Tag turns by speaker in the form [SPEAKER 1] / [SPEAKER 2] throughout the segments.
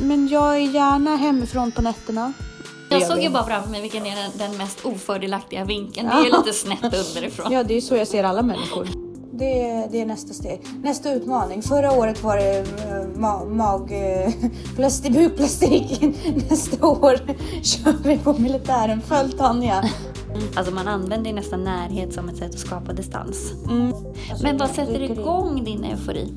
[SPEAKER 1] Men jag är gärna hemifrån på nätterna.
[SPEAKER 2] Jag såg ju bara framför mig vilken är den, den mest ofördelaktiga vinkeln. Det är ju lite snett underifrån.
[SPEAKER 1] Ja, det är så jag ser alla människor. Det är, det är nästa steg. Nästa utmaning. Förra året var det eh, ma- mag... eh, plasti- Bukplastik. Nästa år kör vi på militären. Följ Tanja.
[SPEAKER 2] Alltså man använder ju nästan närhet som ett sätt att skapa distans.
[SPEAKER 1] Mm.
[SPEAKER 2] Men vad sätter igång din eufori?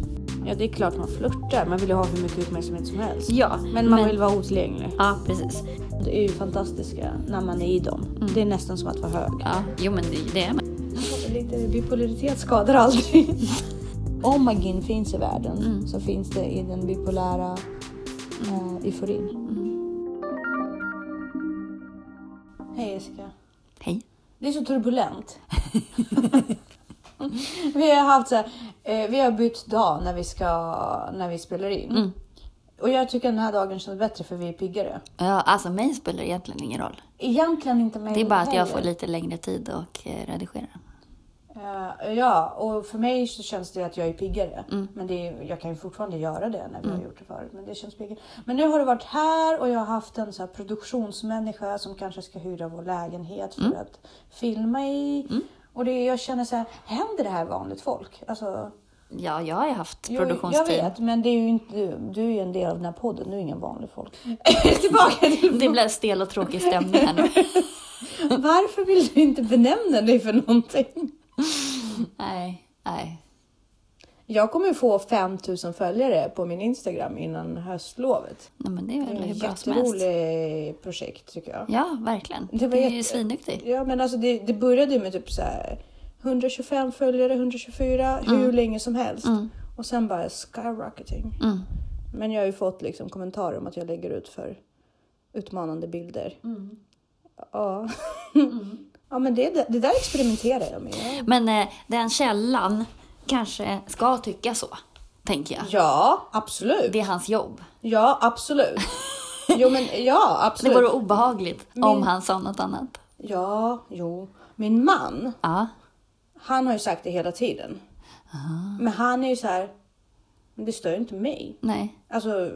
[SPEAKER 1] Ja, det är klart man flörtar. Man vill ju ha hur mycket uppmärksamhet som helst.
[SPEAKER 2] Ja,
[SPEAKER 1] Men man vill vara otillgänglig.
[SPEAKER 2] Ja, precis.
[SPEAKER 1] Det är ju fantastiska när man är i dem.
[SPEAKER 2] Mm.
[SPEAKER 1] Det är nästan som att vara hög.
[SPEAKER 2] Ja, jo men det, det är man.
[SPEAKER 1] Lite bipolaritet skadar aldrig. Mm. Om magin finns i världen så finns det i den bipolära eh, euforin. Hej Jessica.
[SPEAKER 2] Hej.
[SPEAKER 1] Det är så turbulent. vi har haft så här, eh, vi har bytt dag när vi, ska, när vi spelar in. Och jag tycker den här dagen känns bättre för vi är piggare.
[SPEAKER 2] Ja, alltså mig spelar det egentligen ingen roll.
[SPEAKER 1] Egentligen inte mig
[SPEAKER 2] Det är bara att jag
[SPEAKER 1] heller.
[SPEAKER 2] får lite längre tid och eh, redigera.
[SPEAKER 1] Eh, ja, och för mig så känns det att jag är piggare. Men det är, jag kan ju fortfarande göra det när vi har gjort det förut. Men det känns piggare. Men nu har du varit här och jag har haft en så här produktionsmänniska som kanske ska hyra vår lägenhet för att filma i. Och det, jag känner så här, händer det här vanligt folk? Alltså,
[SPEAKER 2] Ja, jag har ju haft
[SPEAKER 1] jo, jag
[SPEAKER 2] produktionstid.
[SPEAKER 1] vet, men det är ju inte, du- du är ju en del av den här podden, du är ingen vanlig folk. Tillbaka till
[SPEAKER 2] Det blev stel och tråkig stämning här nu.
[SPEAKER 1] varför vill du inte benämna dig för någonting?
[SPEAKER 2] nej, nej.
[SPEAKER 1] Jag kommer få 5000 följare på min Instagram innan höstlovet.
[SPEAKER 2] nej men det är
[SPEAKER 1] Det
[SPEAKER 2] väl
[SPEAKER 1] är
[SPEAKER 2] hur
[SPEAKER 1] ett
[SPEAKER 2] bra som helst.
[SPEAKER 1] jätteroligt projekt tycker jag.
[SPEAKER 2] Ja, verkligen.
[SPEAKER 1] Det var
[SPEAKER 2] du är ju
[SPEAKER 1] jätte-
[SPEAKER 2] svinduktig.
[SPEAKER 1] Ja, men alltså det, det började ju med typ så här 125 följare, 124, hur länge som helst. Och sen bara skyrocketing.
[SPEAKER 2] Mm.
[SPEAKER 1] Men jag har ju fått liksom kommentarer om att jag lägger ut för utmanande bilder.
[SPEAKER 2] Mm.
[SPEAKER 1] Ja. ja, men det, det där experimenterar jag med.
[SPEAKER 2] Men eh, den källan kanske ska tycka så, tänker jag.
[SPEAKER 1] Ja, absolut.
[SPEAKER 2] Det är hans jobb.
[SPEAKER 1] Ja, absolut. Jo, men ja,
[SPEAKER 2] Det
[SPEAKER 1] absolut.
[SPEAKER 2] vore obehagligt om han sa något annat.
[SPEAKER 1] Ja, jo. Min man,
[SPEAKER 2] Ja,
[SPEAKER 1] han har ju sagt det hela tiden. Men han är ju så här, "Men det stör ju inte mig.
[SPEAKER 2] nej.
[SPEAKER 1] Alltså,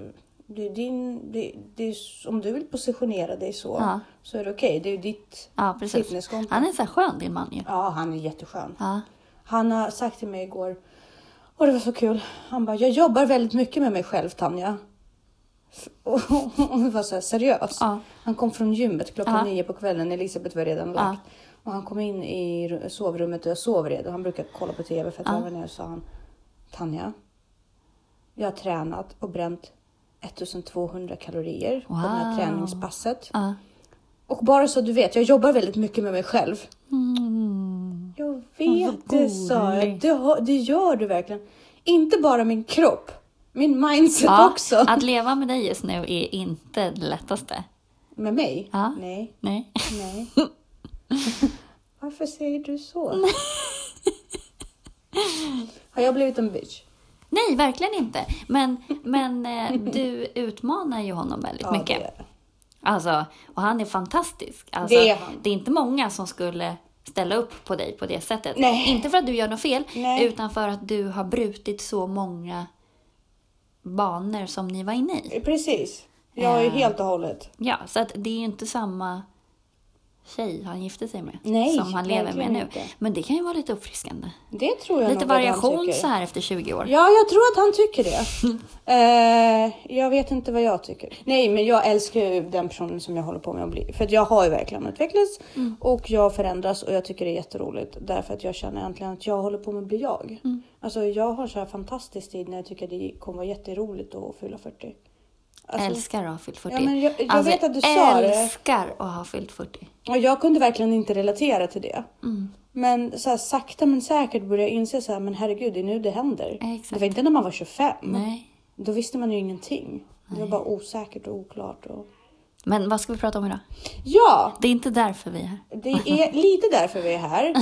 [SPEAKER 1] det är din, det, det är, om du vill positionera dig så,
[SPEAKER 2] Ja.
[SPEAKER 1] så är det okej. Det är ju ditt
[SPEAKER 2] Ja, precis.
[SPEAKER 1] fitnesskonto.
[SPEAKER 2] Han är så här skön din man ju.
[SPEAKER 1] Ja, han är jätteskön.
[SPEAKER 2] Ja.
[SPEAKER 1] Han har sagt till mig igår, och det var så kul, han bara, jag jobbar väldigt mycket med mig själv Tanja. F- Och och det var så här seriös.
[SPEAKER 2] Ja.
[SPEAKER 1] Han kom från gymmet klockan
[SPEAKER 2] Ja.
[SPEAKER 1] nio på kvällen, Elisabeth var redan lagt. Och han kom in i ru- sovrummet och jag sov redan. Han brukar kolla på tv för att jag var nere och sa han, Tanja, jag har tränat och bränt 1200 kalorier på det här
[SPEAKER 2] Wow.
[SPEAKER 1] träningspasset.
[SPEAKER 2] Ja.
[SPEAKER 1] Och bara så du vet, jag jobbar väldigt mycket med mig själv.
[SPEAKER 2] Mm.
[SPEAKER 1] Jag
[SPEAKER 2] Åh,
[SPEAKER 1] vet
[SPEAKER 2] vad
[SPEAKER 1] det sa jag.
[SPEAKER 2] gulligt.
[SPEAKER 1] Det, har- det gör du verkligen. Inte bara min kropp, min mindset
[SPEAKER 2] Ja,
[SPEAKER 1] också.
[SPEAKER 2] Att leva med dig just nu är inte det lättaste.
[SPEAKER 1] Med mig?
[SPEAKER 2] Ja.
[SPEAKER 1] Nej,
[SPEAKER 2] Nej.
[SPEAKER 1] nej. Varför säger du så? har jag blivit en bitch?
[SPEAKER 2] Nej, verkligen inte. Men, men eh, du utmanar ju honom väldigt mycket.
[SPEAKER 1] det är det.
[SPEAKER 2] Alltså, och han är fantastisk. Alltså,
[SPEAKER 1] Det är han.
[SPEAKER 2] det är inte många som skulle ställa upp på dig på det sättet.
[SPEAKER 1] Nej.
[SPEAKER 2] Inte för att du gör något fel,
[SPEAKER 1] Nej.
[SPEAKER 2] utan för att du har brutit så många banor som ni var inne i.
[SPEAKER 1] Precis. Jag
[SPEAKER 2] Eh.
[SPEAKER 1] är ju helt och hållet.
[SPEAKER 2] Ja, så att det är ju inte samma tjej han gifte sig med
[SPEAKER 1] Nej,
[SPEAKER 2] som han lever med
[SPEAKER 1] verkligen
[SPEAKER 2] nu.
[SPEAKER 1] inte.
[SPEAKER 2] Men det kan ju vara lite uppfriskande.
[SPEAKER 1] Det tror jag nog
[SPEAKER 2] Lite
[SPEAKER 1] att han
[SPEAKER 2] variation
[SPEAKER 1] tycker.
[SPEAKER 2] så här efter 20 år.
[SPEAKER 1] Ja, jag tror att han tycker det. eh, jag vet inte vad jag tycker. Nej, men jag älskar ju den personen som jag håller på med att bli. För att jag har ju verkligen utvecklats
[SPEAKER 2] Mm.
[SPEAKER 1] och jag förändras och jag tycker det är jätteroligt. Därför att jag känner äntligen att jag håller på med att bli jag.
[SPEAKER 2] Mm.
[SPEAKER 1] Alltså jag har så här fantastisk tid när jag tycker det kommer vara jätteroligt att fylla 40. Alltså,
[SPEAKER 2] älskar att ha fyllt 40.
[SPEAKER 1] Ja, men jag- jag
[SPEAKER 2] alltså,
[SPEAKER 1] vet att du sa det.
[SPEAKER 2] älskar att ha fyllt 40.
[SPEAKER 1] och jag kunde verkligen inte relatera till det.
[SPEAKER 2] Mm.
[SPEAKER 1] Men så här, sakta men säkert började jag inse så här, men herregud, det är nu det händer.
[SPEAKER 2] Exakt.
[SPEAKER 1] Det var inte när man var 25.
[SPEAKER 2] Nej.
[SPEAKER 1] Då visste man ju ingenting. Det var bara osäkert och oklart. Och...
[SPEAKER 2] Men vad ska vi prata om idag?
[SPEAKER 1] Ja,
[SPEAKER 2] Det är inte därför vi är här.
[SPEAKER 1] det är lite därför vi är här.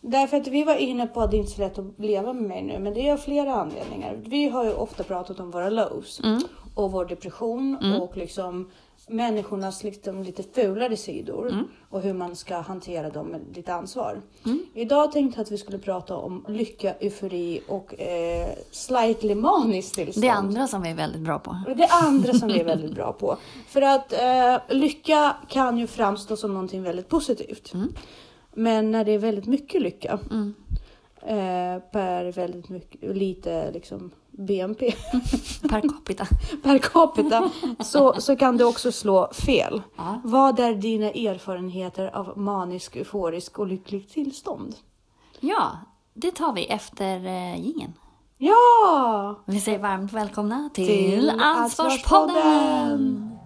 [SPEAKER 1] Därför att vi var inne på att det inte är så lätt att leva med mig nu, men det är av flera
[SPEAKER 2] Mm.
[SPEAKER 1] anledningar. Vi har ju ofta pratat om våra lows och vår depression och liksom människornas liksom lite fulare sidor
[SPEAKER 2] Mm.
[SPEAKER 1] och hur man ska hantera dem med lite ansvar. Idag tänkte jag att vi skulle prata om lycka, eufori och eh, slightly maniskt tillstånd.
[SPEAKER 2] Det andra som vi är väldigt bra på.
[SPEAKER 1] Och Det andra som vi är väldigt bra på. För att eh, lycka kan ju framstå som någonting väldigt positivt. Men när det är väldigt mycket lycka eh, per väldigt mycket, lite liksom BNP
[SPEAKER 2] Per capita.
[SPEAKER 1] per capita så, så kan det också slå fel.
[SPEAKER 2] Ja.
[SPEAKER 1] Vad är dina erfarenheter av manisk, euforisk och lyckligt tillstånd?
[SPEAKER 2] Ja, det tar vi efter eh, jingeln.
[SPEAKER 1] Ja!
[SPEAKER 2] Vi säger varmt välkomna till,
[SPEAKER 1] Till
[SPEAKER 2] Ansvarspodden!
[SPEAKER 1] Ansvarspodden!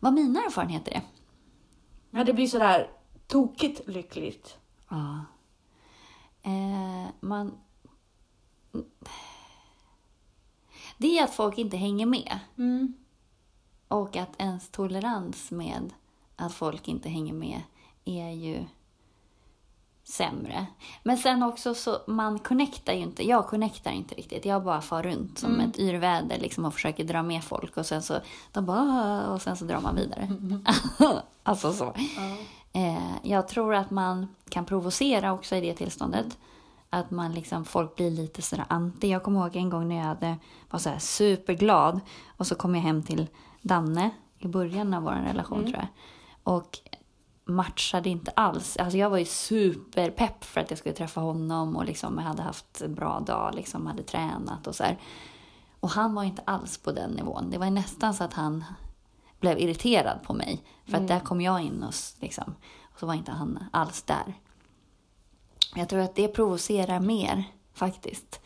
[SPEAKER 2] Vad mina erfarenheter är.
[SPEAKER 1] Ja, det blir sådär tokigt lyckligt.
[SPEAKER 2] Ja. Eh, man... Det är att folk inte hänger med.
[SPEAKER 1] Mm.
[SPEAKER 2] Och att ens tolerans med att folk inte hänger med är ju sämre. Men sen också så, man connectar ju inte. Jag connectar inte riktigt. Jag bara far runt som ett yrväder liksom och försöker dra med folk och sen så, de bara, "Ah", och sen så drar man vidare. alltså så. Eh, jag tror att man kan provocera också i det tillståndet. Att man liksom, folk blir lite sådär anti. Jag kommer ihåg en gång när jag hade, var såhär superglad och så kom jag hem till Danne i början av vår relation tror jag. Och matchade inte alls. Alltså jag var ju superpepp för att jag skulle träffa honom och liksom jag hade haft en bra dag, liksom hade tränat och så här. Och han var inte alls på den nivån. Det var ju nästan så att han blev irriterad på mig. För att där kom jag in och s- liksom, och så var inte han alls där. Jag tror att det provocerar mer faktiskt.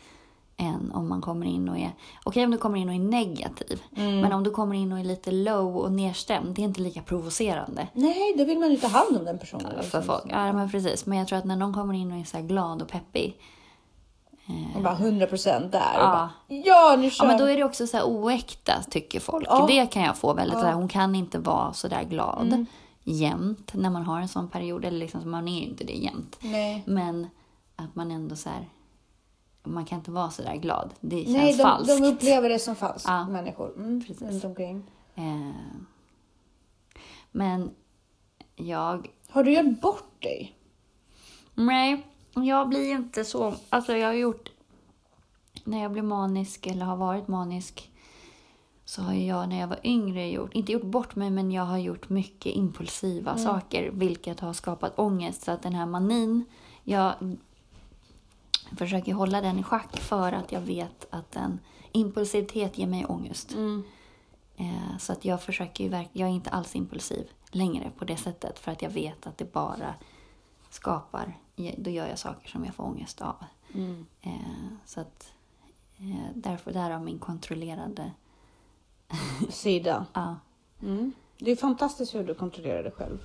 [SPEAKER 2] Än om man kommer in och är, okej om du kommer in och är negativ. Men om du kommer in och är lite low och nedstämd, det är inte lika provocerande.
[SPEAKER 1] Nej, då vill man ju ta hand om den personen. Liksom.
[SPEAKER 2] För folk. Ja, men precis. Men jag tror att när någon kommer in och är så här glad och peppig,
[SPEAKER 1] Och bara 100 procent där.
[SPEAKER 2] Ja.
[SPEAKER 1] Och bara, ja, nu
[SPEAKER 2] ja,
[SPEAKER 1] kör
[SPEAKER 2] men då
[SPEAKER 1] vi.
[SPEAKER 2] är det också så här oäkta tycker folk.
[SPEAKER 1] Ja. Mm.
[SPEAKER 2] Det kan jag få väldigt. Så här, hon kan inte vara så där glad jämt när man har en sån period. Eller liksom, man är ju inte det jämt.
[SPEAKER 1] Nej.
[SPEAKER 2] Men att man ändå så här, man kan inte vara så där glad. Det känns
[SPEAKER 1] Nej, de,
[SPEAKER 2] falskt.
[SPEAKER 1] de upplever det som falskt,
[SPEAKER 2] Ja.
[SPEAKER 1] människor. Mm,
[SPEAKER 2] Precis.
[SPEAKER 1] runt omkring.
[SPEAKER 2] Eh, men jag
[SPEAKER 1] Har du gjort bort dig?
[SPEAKER 2] Nej, jag blir inte så. Alltså jag har gjort... När jag blev manisk eller har varit manisk så har ju jag när jag var yngre gjort, inte gjort bort mig, men jag har gjort mycket impulsiva saker vilket har skapat ångest. Så att den här manin, jag försöker hålla den i schack för att jag vet att en impulsivitet ger mig ångest. Eh, Så att jag försöker ju verk- jag är inte alls impulsiv längre på det sättet för att jag vet att det bara skapar, då gör jag saker som jag får ångest av.
[SPEAKER 1] Mm.
[SPEAKER 2] Eh, Så att eh, därför, därav min kontrollerade,
[SPEAKER 1] Sida. Mm.
[SPEAKER 2] ja,
[SPEAKER 1] Det är fantastiskt hur du kontrollerar dig själv.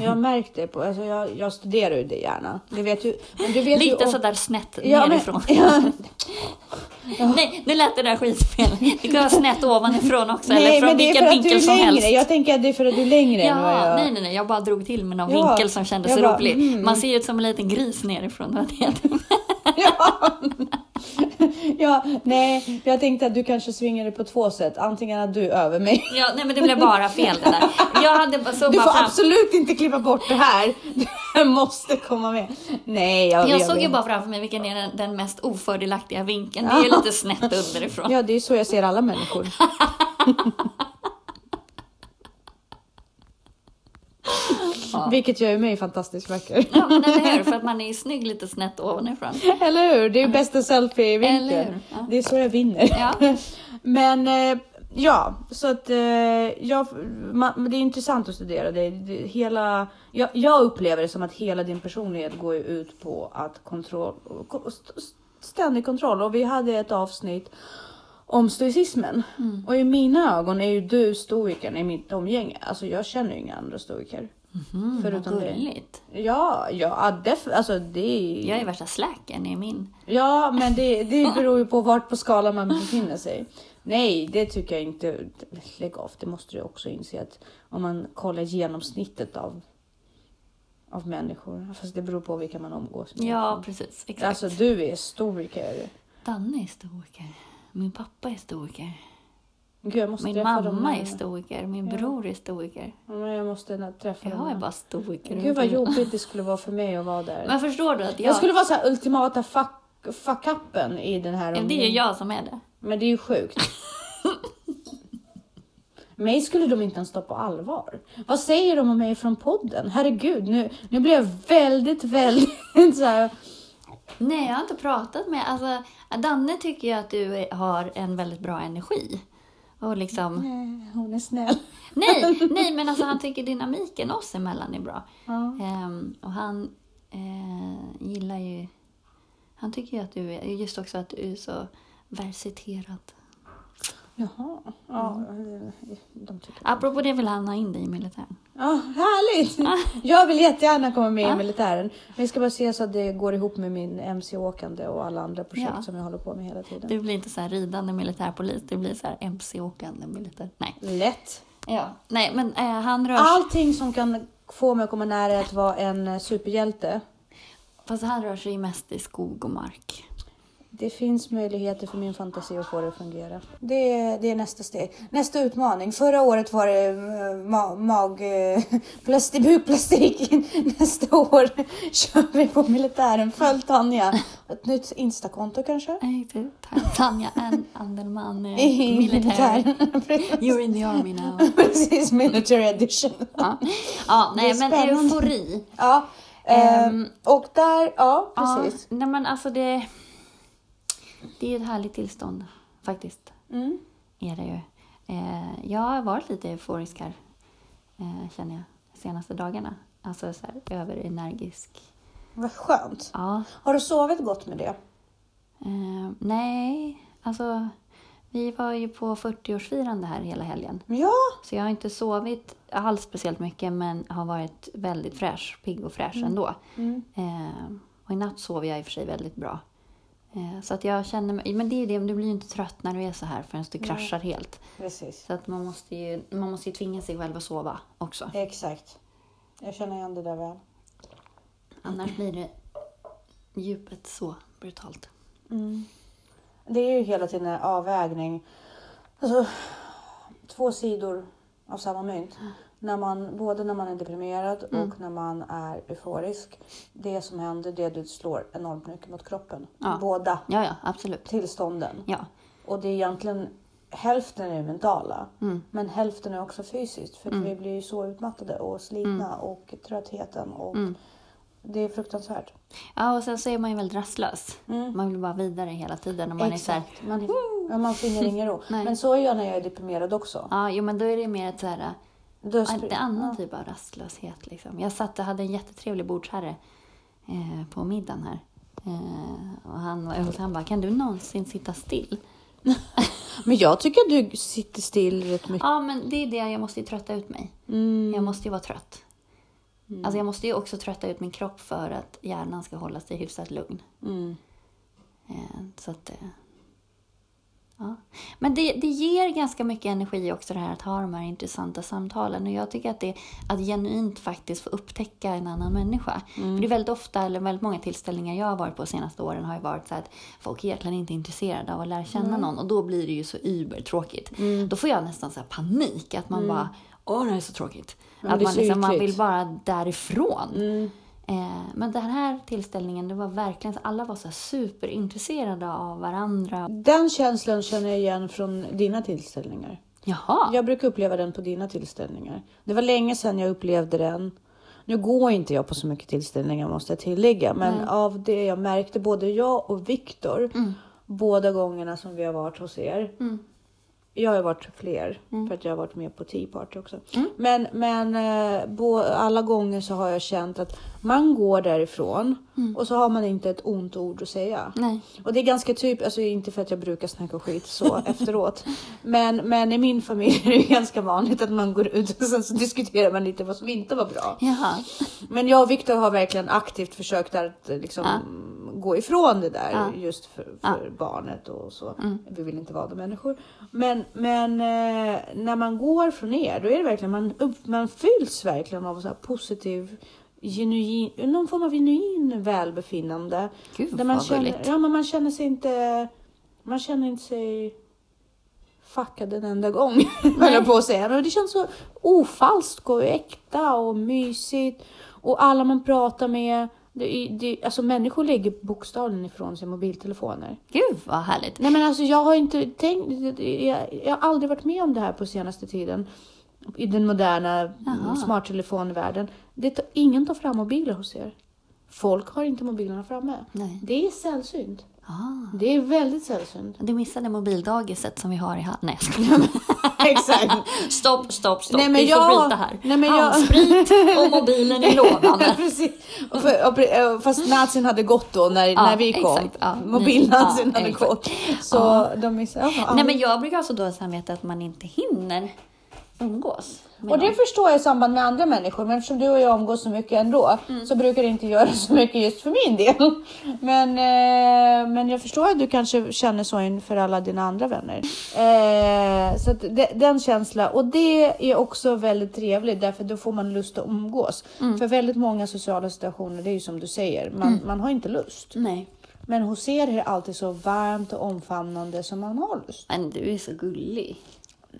[SPEAKER 1] Jag har märkt det på, alltså jag, jag studerar ju det gärna. Du vet ju, men du vet ju
[SPEAKER 2] lite
[SPEAKER 1] om-
[SPEAKER 2] sådär snett
[SPEAKER 1] Ja, men-
[SPEAKER 2] nerifrån.
[SPEAKER 1] Ja,
[SPEAKER 2] Nej, nu lät det där skitfel. Det kan vara snett ovanifrån också,
[SPEAKER 1] nej,
[SPEAKER 2] eller
[SPEAKER 1] men
[SPEAKER 2] från
[SPEAKER 1] det är
[SPEAKER 2] vilken
[SPEAKER 1] för att du
[SPEAKER 2] vinkel
[SPEAKER 1] är
[SPEAKER 2] som
[SPEAKER 1] längre.
[SPEAKER 2] helst.
[SPEAKER 1] Jag tänker att det är för att du är längre än vad
[SPEAKER 2] Ja,
[SPEAKER 1] jag...
[SPEAKER 2] nej, nej, nej, jag bara drog till med någon
[SPEAKER 1] Ja,
[SPEAKER 2] vinkel som kändes
[SPEAKER 1] jag bara, mm.
[SPEAKER 2] rolig. Man ser ut som en liten gris nerifrån. det var det jag tänkte.
[SPEAKER 1] Ja. ja, nej, jag tänkte att du kanske svingar det på två sätt. Antingen att du är över mig.
[SPEAKER 2] Ja, nej, men det blev bara fel det där. Jag hade bara- så
[SPEAKER 1] Du
[SPEAKER 2] bara
[SPEAKER 1] får
[SPEAKER 2] fram.
[SPEAKER 1] absolut inte klippa bort det här. Du måste komma med. Nej, jag,
[SPEAKER 2] Jag
[SPEAKER 1] vet
[SPEAKER 2] såg ju
[SPEAKER 1] inte.
[SPEAKER 2] bara framför mig vilken är den, den mest ofördelaktiga vinkeln. Det är ju lite snett underifrån.
[SPEAKER 1] Ja, det är så jag ser alla människor. Vilket gör ju mig fantastiskt vacker.
[SPEAKER 2] Ja, men eller hur? För att man är ju snygg lite snett ovanifrån.
[SPEAKER 1] Eller hur? Det är ju bästa
[SPEAKER 2] Eller
[SPEAKER 1] selfie-vinkeln.
[SPEAKER 2] hur? Ja.
[SPEAKER 1] Det är så jag vinner.
[SPEAKER 2] Ja.
[SPEAKER 1] Men eh, Ja, så att eh, jag, ma- men det är intressant att studera det. det hela, jag, jag upplever det som att hela din personlighet går ju ut på att kontroll, ko- st- ständig kontroll. Och vi hade ett avsnitt om stoicismen.
[SPEAKER 2] Mm.
[SPEAKER 1] Och i mina ögon är ju du stoikern i mitt omgänge. Alltså jag känner ju inga andra stoiker.
[SPEAKER 2] Mm,
[SPEAKER 1] Förutom
[SPEAKER 2] vad
[SPEAKER 1] dig.
[SPEAKER 2] gulligt.
[SPEAKER 1] Ja, ja, def, alltså det är...
[SPEAKER 2] Jag är värsta släken i min.
[SPEAKER 1] Ja, men det, det beror ju på vart på skalan man befinner sig. Nej, det tycker jag inte. Lägg av, det måste du också inse att om man kollar genomsnittet av, av människor, fast det beror på vilka man omgås med.
[SPEAKER 2] Ja, precis. Exakt.
[SPEAKER 1] Alltså du är stoiker.
[SPEAKER 2] Danne är stoiker. Min pappa är stoiker.
[SPEAKER 1] Gud, jag måste
[SPEAKER 2] Min
[SPEAKER 1] träffa dem
[SPEAKER 2] mamma är
[SPEAKER 1] här.
[SPEAKER 2] stoiker. Min
[SPEAKER 1] Ja.
[SPEAKER 2] bror är stoiker.
[SPEAKER 1] Ja, men jag måste nä- träffa dem
[SPEAKER 2] Jag är
[SPEAKER 1] här.
[SPEAKER 2] bara stoiker.
[SPEAKER 1] Gud vad jobbigt det skulle vara för mig att vara där.
[SPEAKER 2] Men förstår du att jag...
[SPEAKER 1] Jag skulle vara så här ultimata fuck- fuck-upen i den här
[SPEAKER 2] Ja, Det är ju jag som är det.
[SPEAKER 1] Men det är ju sjukt. mig skulle de inte ens ta på allvar. Vad säger de om mig från podden? Herregud, nu, nu blir jag väldigt, väldigt så här.
[SPEAKER 2] Nej, jag har inte pratat med... Alltså, Danne tycker ju att du är- har en väldigt bra energi. Och liksom...
[SPEAKER 1] "Nej, Eh, Hon är snäll.
[SPEAKER 2] Nej, nej men alltså han tycker dynamiken oss emellan är bra.
[SPEAKER 1] Ja.
[SPEAKER 2] Ehm, och han eh, gillar ju... Han tycker ju att du är... Just också att du är så välciterad.
[SPEAKER 1] Jaha. Ja, eh, de tycker
[SPEAKER 2] Apropå det vill han ha in dig i militären.
[SPEAKER 1] Ja, härligt! Jag vill jättegärna komma med i militären. Vi ska bara se så att det går ihop med min mc-åkande och alla andra projekt
[SPEAKER 2] Ja.
[SPEAKER 1] som jag håller på med hela tiden.
[SPEAKER 2] Du blir inte så här ridande militärpolis, du blir så här mc-åkande militär. Nej.
[SPEAKER 1] Lätt!
[SPEAKER 2] Ja. Nej, men eh, han rör sig...
[SPEAKER 1] Allting som kan få mig att komma nära att vara en eh, superhjälte
[SPEAKER 2] Fast han rör sig ju mest i skog och mark.
[SPEAKER 1] Det finns möjligheter för min fantasi att få det att fungera. Det är, det är nästa steg. Nästa utmaning. Förra året var det eh, ma- mag... eh, plasti- Bukplastik. Nästa år kör vi på militären. Följ Tanja. Ett nytt Instakonto kanske?
[SPEAKER 2] Nej, du, tack. Tanja Ann Andelman, eh,
[SPEAKER 1] I
[SPEAKER 2] militär.
[SPEAKER 1] Precis.
[SPEAKER 2] You're in the army now.
[SPEAKER 1] Precis, military edition.
[SPEAKER 2] Ja, ja
[SPEAKER 1] Det
[SPEAKER 2] nej
[SPEAKER 1] är
[SPEAKER 2] men
[SPEAKER 1] spännande.
[SPEAKER 2] eufori.
[SPEAKER 1] Ja, ehm, och där, ja precis.
[SPEAKER 2] Ja, nej men alltså det... Det är ju ett härligt tillstånd faktiskt.
[SPEAKER 1] Mm.
[SPEAKER 2] Är det ju. Eh, jag har varit lite euforisk här, eh, känner jag, de senaste dagarna. Alltså så här överenergisk.
[SPEAKER 1] Vad skönt.
[SPEAKER 2] Ja.
[SPEAKER 1] Har du sovit gott med det?
[SPEAKER 2] Eh, nej, alltså vi var ju på 40-årsfirande här hela helgen.
[SPEAKER 1] Ja,
[SPEAKER 2] Så jag har inte sovit alls speciellt mycket men har varit väldigt fräsch, pigg och fräsch
[SPEAKER 1] Mm.
[SPEAKER 2] ändå. Eh, och i natt sov jag i och för sig väldigt bra. Eh, så att jag känner mig, men det är ju det, du blir ju inte trött när du är så här förrän du kraschar helt.
[SPEAKER 1] precis.
[SPEAKER 2] Så att man måste ju, man måste ju tvinga sig själv att sova också.
[SPEAKER 1] Exakt. Jag känner igen det där väl.
[SPEAKER 2] Annars blir det djupet så brutalt.
[SPEAKER 1] Det är ju hela tiden en avvägning. Alltså, två sidor av samma mynt. När man, både när man är deprimerad och när man är euforisk. Det som händer det är att du slår enormt mycket mot kroppen.
[SPEAKER 2] Ja.
[SPEAKER 1] Båda
[SPEAKER 2] Ja, ja, absolut.
[SPEAKER 1] tillstånden.
[SPEAKER 2] Ja,
[SPEAKER 1] Och det är egentligen hälften är mentala.
[SPEAKER 2] Mm.
[SPEAKER 1] Men hälften är också fysiskt. För vi blir ju så utmattade och slitna och tröttheten. Och Det är fruktansvärt.
[SPEAKER 2] ja och sen så är man ju väldigt rastlös.
[SPEAKER 1] Mm.
[SPEAKER 2] Man vill bara vidare hela tiden och man är så här,
[SPEAKER 1] Exakt. Man, ja, man finner ingen ro.
[SPEAKER 2] Nej.
[SPEAKER 1] Men så är jag när jag är deprimerad också.
[SPEAKER 2] ja, jo, men då är det mer ett så här
[SPEAKER 1] Då
[SPEAKER 2] Ja,
[SPEAKER 1] spr-
[SPEAKER 2] Det är annan
[SPEAKER 1] ja.
[SPEAKER 2] typ av rastlöshet. Liksom. Jag satt och hade en jättetrevlig bordsherre eh, på middagen här. Eh, och han, var- han bara, kan du någonsin sitta still? typ.
[SPEAKER 1] Men jag tycker att du sitter still rätt mycket.
[SPEAKER 2] Ja, men det är det, jag måste ju trötta ut mig.
[SPEAKER 1] Mm.
[SPEAKER 2] Jag måste ju vara trött. Alltså jag måste ju också trötta ut min kropp för att hjärnan ska hålla sig hyfsat lugn.
[SPEAKER 1] Mm.
[SPEAKER 2] Eh, så att, eh, ja. Men det, det ger ganska mycket energi också det här att ha de här intressanta samtalen. Och jag tycker att det att genuint faktiskt få upptäcka en annan människa.
[SPEAKER 1] Mm.
[SPEAKER 2] För det är väldigt ofta, eller väldigt många tillställningar jag har varit på de senaste åren har ju varit så här att folk är egentligen inte intresserade av att lära känna någon. Och då blir det ju så ubertråkigt.
[SPEAKER 1] Mm.
[SPEAKER 2] Då får jag nästan så här panik att man bara, åh det här är så tråkigt.
[SPEAKER 1] Men
[SPEAKER 2] att
[SPEAKER 1] Mm. det är
[SPEAKER 2] man,
[SPEAKER 1] så
[SPEAKER 2] liksom, man
[SPEAKER 1] ytligt.
[SPEAKER 2] vill bara därifrån.
[SPEAKER 1] Mm.
[SPEAKER 2] Eh, men den här tillställningen, det var verkligen så alla var så här superintresserade av varandra.
[SPEAKER 1] Den känslan känner jag igen från dina tillställningar.
[SPEAKER 2] Jaha!
[SPEAKER 1] Jag brukar uppleva den på dina tillställningar. Det var länge sedan jag upplevde den. Nu går inte jag på så mycket tillställningar måste jag tillägga, men av det jag märkte, både jag och Viktor, båda gångerna som vi har varit hos er, Jag har ju varit fler för att jag har varit med på Tea Party också. Men, men eh, bo, alla gånger så har jag känt att man går därifrån och så har man inte ett ont ord att säga.
[SPEAKER 2] Nej.
[SPEAKER 1] Och det är ganska typ, alltså inte för att jag brukar snacka skit så efteråt. Men, men i min familj är det ganska vanligt att man går ut och sen så diskuterar man lite vad som inte var bra.
[SPEAKER 2] Jaha.
[SPEAKER 1] Men jag och Viktor har verkligen aktivt försökt att eh, liksom, gå ifrån det där
[SPEAKER 2] Ja. Mm.
[SPEAKER 1] just för, för barnet och så. Vi vill inte vara de människor. Men, men eh, när man går från er, då är det verkligen man, upp, man fylls verkligen av så här positiv Genuin, någon form av genuin välbefinnande.
[SPEAKER 2] Gud,
[SPEAKER 1] där man
[SPEAKER 2] vad
[SPEAKER 1] känner,
[SPEAKER 2] gulligt.
[SPEAKER 1] ja, men man känner sig inte... Man känner inte sig fuckad en enda gång, höll jag på att säga. Men det känns så ofalskt och äkta och mysigt. Och alla man pratar med, det, är- det, alltså människor lägger bokstavligen ifrån sig mobiltelefoner.
[SPEAKER 2] Gud vad härligt.
[SPEAKER 1] Nej men alltså jag har inte tänkt, jag, jag har aldrig varit med om det här på senaste tiden. I den moderna mm, smarttelefonvärlden. Det tar, ingen tar fram mobiler hos er. Folk har inte mobilerna framme.
[SPEAKER 2] Nej.
[SPEAKER 1] Det är sällsynt.
[SPEAKER 2] Ah,
[SPEAKER 1] Det är väldigt sällsynt.
[SPEAKER 2] du missade mobildagiset som vi har i hand. Nej, jag skojar.
[SPEAKER 1] Exakt.
[SPEAKER 2] Stopp, stopp, stopp.
[SPEAKER 1] Nej, men
[SPEAKER 2] vi får
[SPEAKER 1] jag-
[SPEAKER 2] bryta här.
[SPEAKER 1] Nej, men jag-
[SPEAKER 2] Handsprit och mobilen i lådan.
[SPEAKER 1] Precis. Och för, och, pre- och fast Nazin hade gått då när,
[SPEAKER 2] Ja,
[SPEAKER 1] när vi kom.
[SPEAKER 2] exakt. Ja,
[SPEAKER 1] Mobil-Nazin
[SPEAKER 2] ni- ja,
[SPEAKER 1] hade
[SPEAKER 2] exakt.
[SPEAKER 1] gått. Så de missade. Ja,
[SPEAKER 2] Nej, men jag brukar ha så dåligt samvete att man inte hinner umgås. med
[SPEAKER 1] Och det
[SPEAKER 2] någon.
[SPEAKER 1] förstår jag i samband med andra människor, men eftersom du och jag umgås så mycket ändå så brukar det inte göra så mycket just för min del. Men, eh, men jag förstår att du kanske känner så inför alla dina andra vänner. Eh, så att de, den känslan, och det är också väldigt trevligt därför då får man lust att umgås. För väldigt många sociala situationer, det är ju som du säger, man, man har inte lust.
[SPEAKER 2] Nej.
[SPEAKER 1] Men hos er är det alltid så varmt och omfamnande som man har lust.
[SPEAKER 2] Men du är så gullig.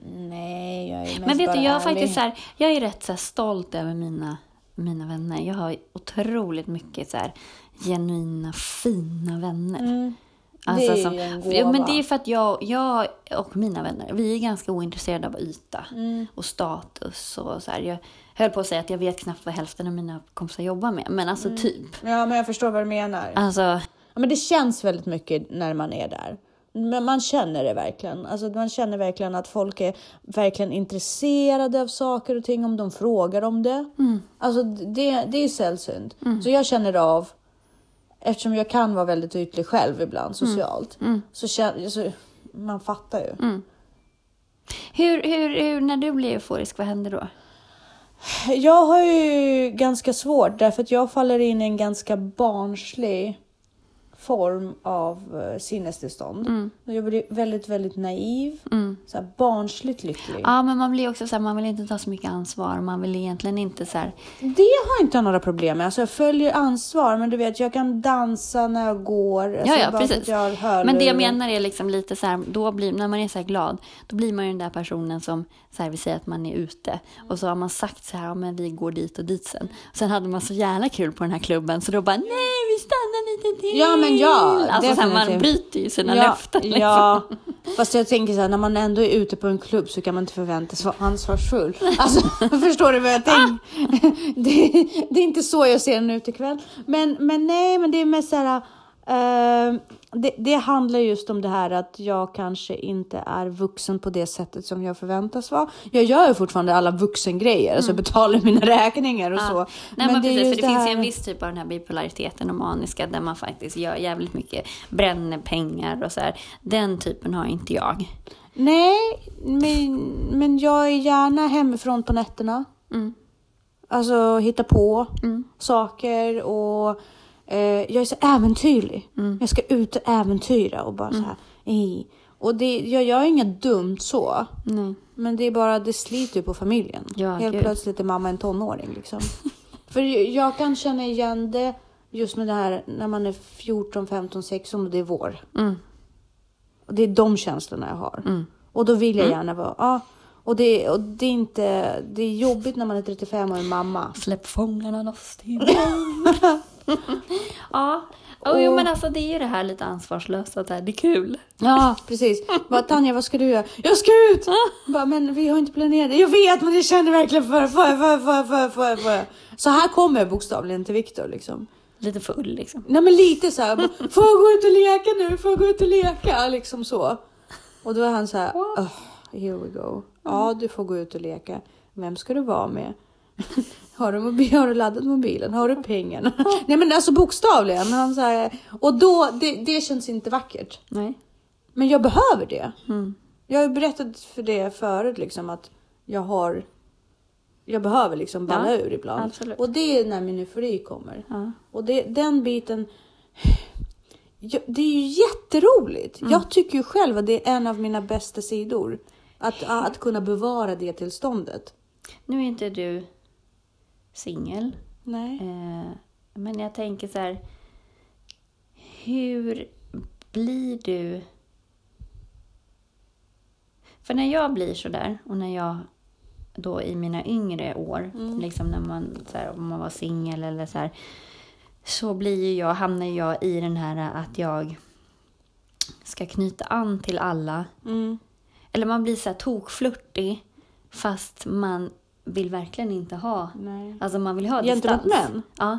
[SPEAKER 1] Nej, jag är mest
[SPEAKER 2] Men vet du,
[SPEAKER 1] bara
[SPEAKER 2] jag är
[SPEAKER 1] ärlig.
[SPEAKER 2] faktiskt så här, jag är rätt så här stolt över mina, mina vänner. Jag har otroligt mycket så här genuina, fina vänner.
[SPEAKER 1] Mm,
[SPEAKER 2] Alltså
[SPEAKER 1] Det är ju
[SPEAKER 2] Mm. som-
[SPEAKER 1] en
[SPEAKER 2] ja, men
[SPEAKER 1] gåva.
[SPEAKER 2] det är för att jag, jag och mina vänner, vi är ganska ointresserade av yta
[SPEAKER 1] Mm.
[SPEAKER 2] och status. Och så här. Jag höll på att säga att jag vet knappt vad hälften av mina kompisar jobbar med, men alltså
[SPEAKER 1] Mm.
[SPEAKER 2] typ.
[SPEAKER 1] Ja, men jag förstår vad du menar.
[SPEAKER 2] Alltså,
[SPEAKER 1] Ja, men det känns väldigt mycket när man är där. Men man känner det verkligen. Alltså, man känner verkligen att folk är verkligen intresserade av saker och ting om de frågar om det.
[SPEAKER 2] Mm.
[SPEAKER 1] Alltså, det, det är sällsynt. Så jag känner av, eftersom jag kan vara väldigt ytlig själv
[SPEAKER 2] Mm.
[SPEAKER 1] ibland socialt, så känner så, man fattar ju.
[SPEAKER 2] mm. hur, hur, hur, när du blir euforisk, vad händer
[SPEAKER 1] Mm.
[SPEAKER 2] då?
[SPEAKER 1] Jag har ju ganska svårt därför att jag faller in i en ganska barnslig form av eh, sinnestillstånd.
[SPEAKER 2] Mm.
[SPEAKER 1] Och Jag blir väldigt, väldigt naiv. Så här barnsligt lycklig.
[SPEAKER 2] Ja, men man blir också så här, man vill inte ta så mycket ansvar, man vill egentligen inte så här,
[SPEAKER 1] Det har jag inte några problem med. Alltså jag följer ansvar, men du vet, jag kan dansa när jag går. Alltså
[SPEAKER 2] Ja, ja,
[SPEAKER 1] bara för att
[SPEAKER 2] precis.
[SPEAKER 1] jag hör
[SPEAKER 2] Men det jag
[SPEAKER 1] luren.
[SPEAKER 2] menar är liksom lite så här, då blir, när man är så här glad, då blir man ju den där personen som, så här, vi säger att man är ute och så har man sagt så här, ja, men vi går dit och dit sen. Sen hade man så jävla kul på den här klubben så då bara, nej vi stannar lite till.
[SPEAKER 1] Ja, men ja,
[SPEAKER 2] Alltså så här, man
[SPEAKER 1] definitivt.
[SPEAKER 2] bryter ju sina löften. Liksom.
[SPEAKER 1] Ja, fast jag tänker så här, när man ändå är ute på en klubb så kan man inte förväntas vara ansvarsfull. Alltså, förstår du vad jag tänker? Det, det är inte så jag ser den ut ikväll. Men, men nej, men det är mest så här, eh, det, det handlar just om det här att jag kanske inte är vuxen på det sättet som jag förväntas vara. Jag gör ju fortfarande alla vuxengrejer, alltså betalar mina räkningar och så.
[SPEAKER 2] Mm. Ah. Nej, men
[SPEAKER 1] är
[SPEAKER 2] precis,
[SPEAKER 1] just
[SPEAKER 2] för det finns ju
[SPEAKER 1] här-
[SPEAKER 2] en viss typ av den här bipolariteten och maniska där man faktiskt gör jävligt mycket, bränner pengar och så här. Den typen har inte jag.
[SPEAKER 1] Nej, men, men jag är gärna hemifrån på nätterna.
[SPEAKER 2] Mm.
[SPEAKER 1] Alltså hitta på saker och eh, jag är så äventyrlig.
[SPEAKER 2] Mm.
[SPEAKER 1] Jag ska ut och äventyra och bara så här. "Ej." Och det, jag gör inget dumt så.
[SPEAKER 2] Nej.
[SPEAKER 1] Men det är bara, det sliter ju på familjen.
[SPEAKER 2] Ja,
[SPEAKER 1] Helt
[SPEAKER 2] gud.
[SPEAKER 1] plötsligt är mamma en tonåring liksom. För jag kan känna igen det just med det här när man är 14, 15, 16 och det är vår.
[SPEAKER 2] Mm.
[SPEAKER 1] Och det är de känslorna jag har. Och då vill jag
[SPEAKER 2] Mm.
[SPEAKER 1] gärna vara, ja. Och det, och det är inte, det är jobbigt när man är 35 och är mamma.
[SPEAKER 2] Släpp fångarna loss till Ja, och, jo, men alltså det är ju det här lite ansvarslösa, att det här, det är kul.
[SPEAKER 1] Ja, precis. Bara, Tanja, vad ska du göra? Jag ska ut! Bara, men vi har inte planerat det. Jag vet, men jag känner verkligen för, för, för, för, för, för, för. Så här kommer jag bokstavligen till Viktor liksom.
[SPEAKER 2] Lite full liksom.
[SPEAKER 1] Nej men lite så här, bara, får jag gå ut och leka nu? Får jag gå ut och leka? Liksom så. Och då är han så här, "Åh, here we go. Ja, du får gå ut och leka. Vem ska du vara med? Har du, mobil, har du laddat mobilen? Har du pengarna? Nej men alltså bokstavligen. Han så här, och då, det, det känns inte vackert.
[SPEAKER 2] Nej. Mm.
[SPEAKER 1] Men jag behöver det. Jag har ju berättat för det förut, liksom, att jag har... Jag behöver liksom balla
[SPEAKER 2] Ja,
[SPEAKER 1] ur ibland.
[SPEAKER 2] absolut.
[SPEAKER 1] Och det är när min eufori kommer.
[SPEAKER 2] Ja.
[SPEAKER 1] Och det, den biten... Ja, Det är ju jätteroligt. Jag tycker ju själv att det är en av mina bästa sidor. Att, att kunna bevara det tillståndet.
[SPEAKER 2] Nu är inte du singel.
[SPEAKER 1] Nej.
[SPEAKER 2] Eh, men jag tänker så här. Hur blir du... För när jag blir så där och när jag då i mina yngre år, liksom när man, så här, om man var singel eller så här, så blir ju jag, hamnar jag i den här att jag ska knyta an till alla.
[SPEAKER 1] Mm.
[SPEAKER 2] Eller man blir så här tokflörtig fast man vill verkligen inte ha
[SPEAKER 1] Nej.
[SPEAKER 2] Alltså man vill ha
[SPEAKER 1] Gentemot
[SPEAKER 2] distans.
[SPEAKER 1] män?
[SPEAKER 2] Ja.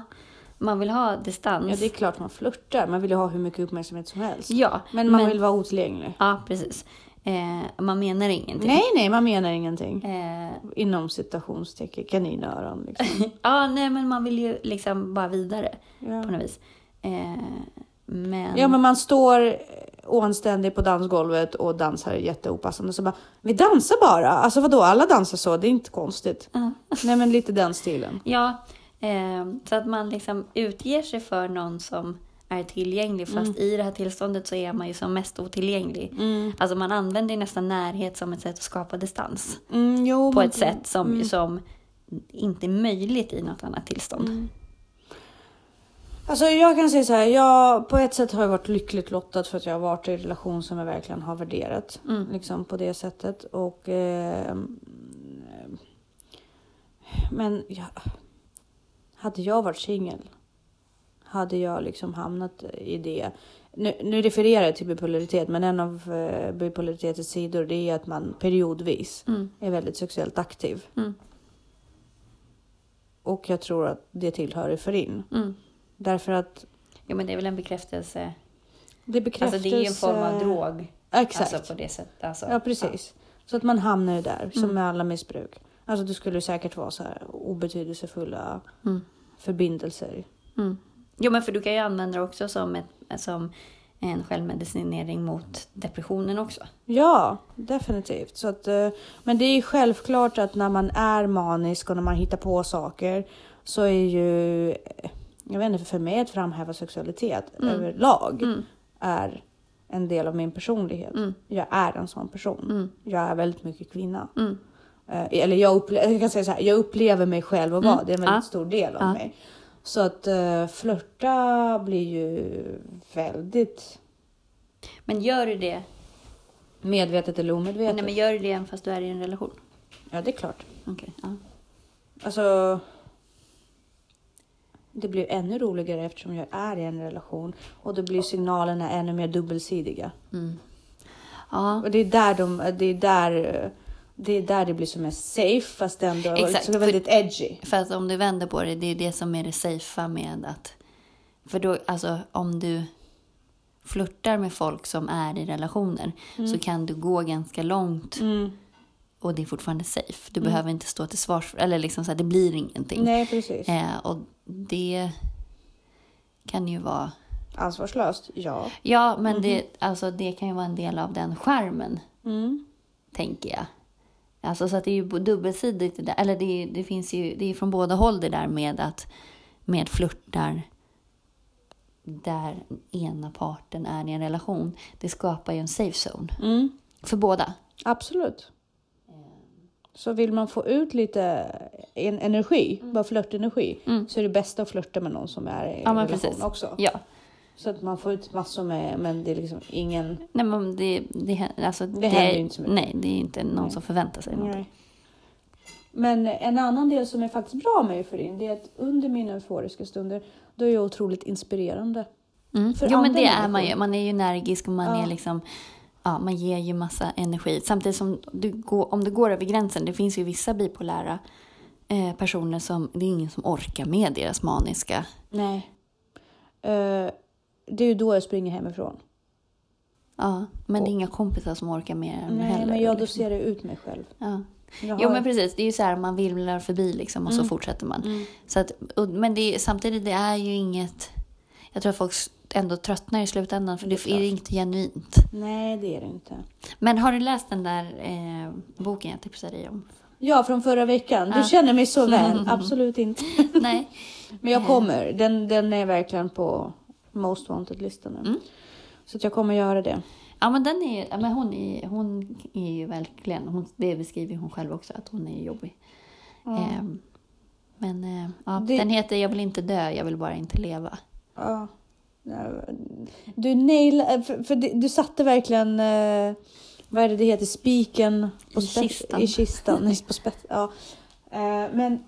[SPEAKER 2] Man vill ha distans.
[SPEAKER 1] Ja, det är klart man flörtar. Man vill ju ha hur mycket uppmärksamhet som helst.
[SPEAKER 2] Ja,
[SPEAKER 1] Men man vill vara otillgänglig.
[SPEAKER 2] Ja, precis. Eh, man menar ingenting.
[SPEAKER 1] Nej, nej, man menar ingenting.
[SPEAKER 2] Eh,
[SPEAKER 1] Inom citationstecken, kaninöron. Liksom.
[SPEAKER 2] ja, nej men man vill ju liksom bara vidare på
[SPEAKER 1] Ja.
[SPEAKER 2] något vis. Eh, men...
[SPEAKER 1] ja, men man står eh, oanständig på dansgolvet och dansar jätteopassande. Så bara, vi dansar bara. Alltså vadå, alla dansar så, det är inte konstigt.
[SPEAKER 2] Ja.
[SPEAKER 1] Nej, men lite den stilen.
[SPEAKER 2] Ja, eh, så att man liksom utger sig för någon som är tillgänglig
[SPEAKER 1] Mm.
[SPEAKER 2] fast i det här tillståndet så är man ju som mest otillgänglig. Alltså man använder ju nästan närhet som ett sätt att skapa distans
[SPEAKER 1] Mm, jo,
[SPEAKER 2] på
[SPEAKER 1] men-
[SPEAKER 2] ett sätt som,
[SPEAKER 1] Mm.
[SPEAKER 2] som inte är möjligt i något annat tillstånd.
[SPEAKER 1] Alltså jag kan säga så här, jag på ett sätt har jag varit lyckligt lottad för att jag har varit i en relation som jag verkligen har värderat. Liksom på det sättet. Och, eh, men jag, hade jag varit singel hade jag liksom hamnat i det. Nu, nu refererar jag till bipolaritet, men en av eh, bipolaritetens sidor det är att man periodvis
[SPEAKER 2] Mm.
[SPEAKER 1] är väldigt sexuellt aktiv.
[SPEAKER 2] Mm.
[SPEAKER 1] Och jag tror att det tillhör euforin.
[SPEAKER 2] Mm.
[SPEAKER 1] Därför att
[SPEAKER 2] Jo, men det är väl en bekräftelse.
[SPEAKER 1] Det bekräftas.
[SPEAKER 2] Alltså det är ju en form av drog.
[SPEAKER 1] Exakt.
[SPEAKER 2] Alltså på Mm. det sättet. Alltså,
[SPEAKER 1] ja, precis. Så att man hamnar ju där, som med alla missbruk. Alltså det skulle ju säkert vara så här obetydelsefulla
[SPEAKER 2] Mm.
[SPEAKER 1] förbindelser.
[SPEAKER 2] Mm. Jo, men för du kan ju använda det också som, ett, som en självmedicinering mot depressionen också.
[SPEAKER 1] Ja, definitivt. Så att, eh, men det är ju självklart att när man är manisk och när man hittar på saker så är ju, eh, jag vet inte, för mig att framhäva sexualitet
[SPEAKER 2] Mm.
[SPEAKER 1] överlag är en del av min personlighet.
[SPEAKER 2] Mm.
[SPEAKER 1] Jag är en sån person.
[SPEAKER 2] Mm.
[SPEAKER 1] Jag är väldigt mycket kvinna.
[SPEAKER 2] Mm.
[SPEAKER 1] Eh, Eller jag, upple- jag kan säga så här, jag upplever mig själv och vara.
[SPEAKER 2] Mm.
[SPEAKER 1] Det är en väldigt
[SPEAKER 2] Ja.
[SPEAKER 1] stor del av
[SPEAKER 2] Ja.
[SPEAKER 1] mig. Så att uh, flörta blir ju väldigt
[SPEAKER 2] Men gör du det,
[SPEAKER 1] medvetet eller omedvetet.
[SPEAKER 2] nej, men gör du det även fast du är i en relation?
[SPEAKER 1] Ja, det är klart.
[SPEAKER 2] Okej. ja.
[SPEAKER 1] Alltså. Det blir ännu roligare eftersom jag är i en relation och då blir signalerna ännu mer dubbelsidiga.
[SPEAKER 2] Mm. Ja,
[SPEAKER 1] Och det är där de, det är där, eh, det är där det blir som mest safe fast ändå
[SPEAKER 2] Exakt,
[SPEAKER 1] så
[SPEAKER 2] för-
[SPEAKER 1] väldigt edgy.
[SPEAKER 2] för att om du vänder på det, det är det som är det safea med att... För då, alltså om du flörtar med folk som är i relationer så kan du gå ganska långt
[SPEAKER 1] Mm.
[SPEAKER 2] och det är fortfarande safe. Du behöver inte stå till svars för, eller liksom så här, det blir ingenting.
[SPEAKER 1] Nej, precis.
[SPEAKER 2] Eh, och det kan ju vara,
[SPEAKER 1] Ansvarslöst, ja.
[SPEAKER 2] ja men det,
[SPEAKER 1] Mm-hmm.
[SPEAKER 2] alltså, det kan ju vara en del av den skärmen
[SPEAKER 1] Mm.
[SPEAKER 2] tänker jag. Alltså så att det är ju bo- dubbelsidigt det där, eller det, är- det finns ju, det är från båda håll det där med att med flörtar där ena parten är i en relation. Det skapar ju en safe zone
[SPEAKER 1] Mm.
[SPEAKER 2] för båda.
[SPEAKER 1] Absolut.
[SPEAKER 2] Eh.
[SPEAKER 1] Så vill man få ut lite en energi, bara flörtenergi,
[SPEAKER 2] Mm.
[SPEAKER 1] så är det bäst att flörta med någon som är i
[SPEAKER 2] Ja,
[SPEAKER 1] en
[SPEAKER 2] men
[SPEAKER 1] relation
[SPEAKER 2] precis.
[SPEAKER 1] också.
[SPEAKER 2] Ja,
[SPEAKER 1] Så att man får ut massor med, men det är liksom ingen...
[SPEAKER 2] nej men det, det, hä- alltså, det,
[SPEAKER 1] händer ju inte så mycket.
[SPEAKER 2] Nej, det är inte någon
[SPEAKER 1] Nej.
[SPEAKER 2] som förväntar sig någonting.
[SPEAKER 1] Nej. Men en annan del som är faktiskt bra med euforin, det är att under mina euforiska stunder, då är jag otroligt inspirerande.
[SPEAKER 2] Mm.
[SPEAKER 1] För
[SPEAKER 2] Jo men
[SPEAKER 1] andra
[SPEAKER 2] det är man
[SPEAKER 1] människor.
[SPEAKER 2] ju. Man är ju energisk och man
[SPEAKER 1] Ja.
[SPEAKER 2] är liksom Ja, man ger ju massa energi. Samtidigt som du går, om du går över gränsen, det finns ju vissa bipolära eh, personer som, det är ingen som orkar med deras maniska.
[SPEAKER 1] Nej. Eh, det är ju då jag springer hemifrån.
[SPEAKER 2] Ja, men det är inga kompisar som orkar mer än
[SPEAKER 1] Nej,
[SPEAKER 2] heller.
[SPEAKER 1] men jag
[SPEAKER 2] liksom.
[SPEAKER 1] doserar ut mig själv.
[SPEAKER 2] ja.
[SPEAKER 1] Jag
[SPEAKER 2] Jo
[SPEAKER 1] har- Mm.
[SPEAKER 2] men precis, det är ju så här man vimlar förbi liksom och så fortsätter man. Så att, och, men det är, samtidigt det är ju inget, jag tror att folk s- ändå tröttnar i slutändan för det, är ju inte genuint.
[SPEAKER 1] Nej, det är det inte.
[SPEAKER 2] Men har du läst den där eh, boken jag tipsade dig om?
[SPEAKER 1] Ja, från förra veckan. Du känner mig så väl. Absolut inte.
[SPEAKER 2] Nej.
[SPEAKER 1] Men jag kommer. Den, den är verkligen på most wanted-listan nu.
[SPEAKER 2] Mm.
[SPEAKER 1] Så att jag kommer göra det.
[SPEAKER 2] Ja men den är ju, ja, men hon är, hon är ju verkligen, hon, det beskriver hon själv också att hon är jobbig. Ehm, men eh, ja,
[SPEAKER 1] Det-
[SPEAKER 2] den heter Jag vill inte dö, jag vill bara inte leva.
[SPEAKER 1] Ja. Du nailade, för, för det- du satte verkligen, eh, vad är det det heter, spiken på
[SPEAKER 2] I
[SPEAKER 1] spets-
[SPEAKER 2] kistan.
[SPEAKER 1] I kistan, nej, på spets, ja. Eh, men,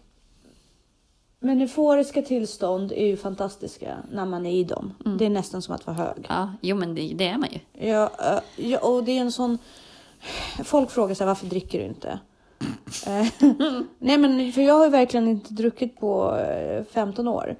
[SPEAKER 1] men euforiska tillstånd är ju fantastiska när man är i dem.
[SPEAKER 2] Mm.
[SPEAKER 1] Det är nästan som att vara hög.
[SPEAKER 2] Ja, jo men det, det är man ju.
[SPEAKER 1] Ja, eh, ja, och det är en sån... Folk frågar sig varför dricker du inte? Eh, Nej men för jag har ju verkligen inte druckit på eh, 15 år.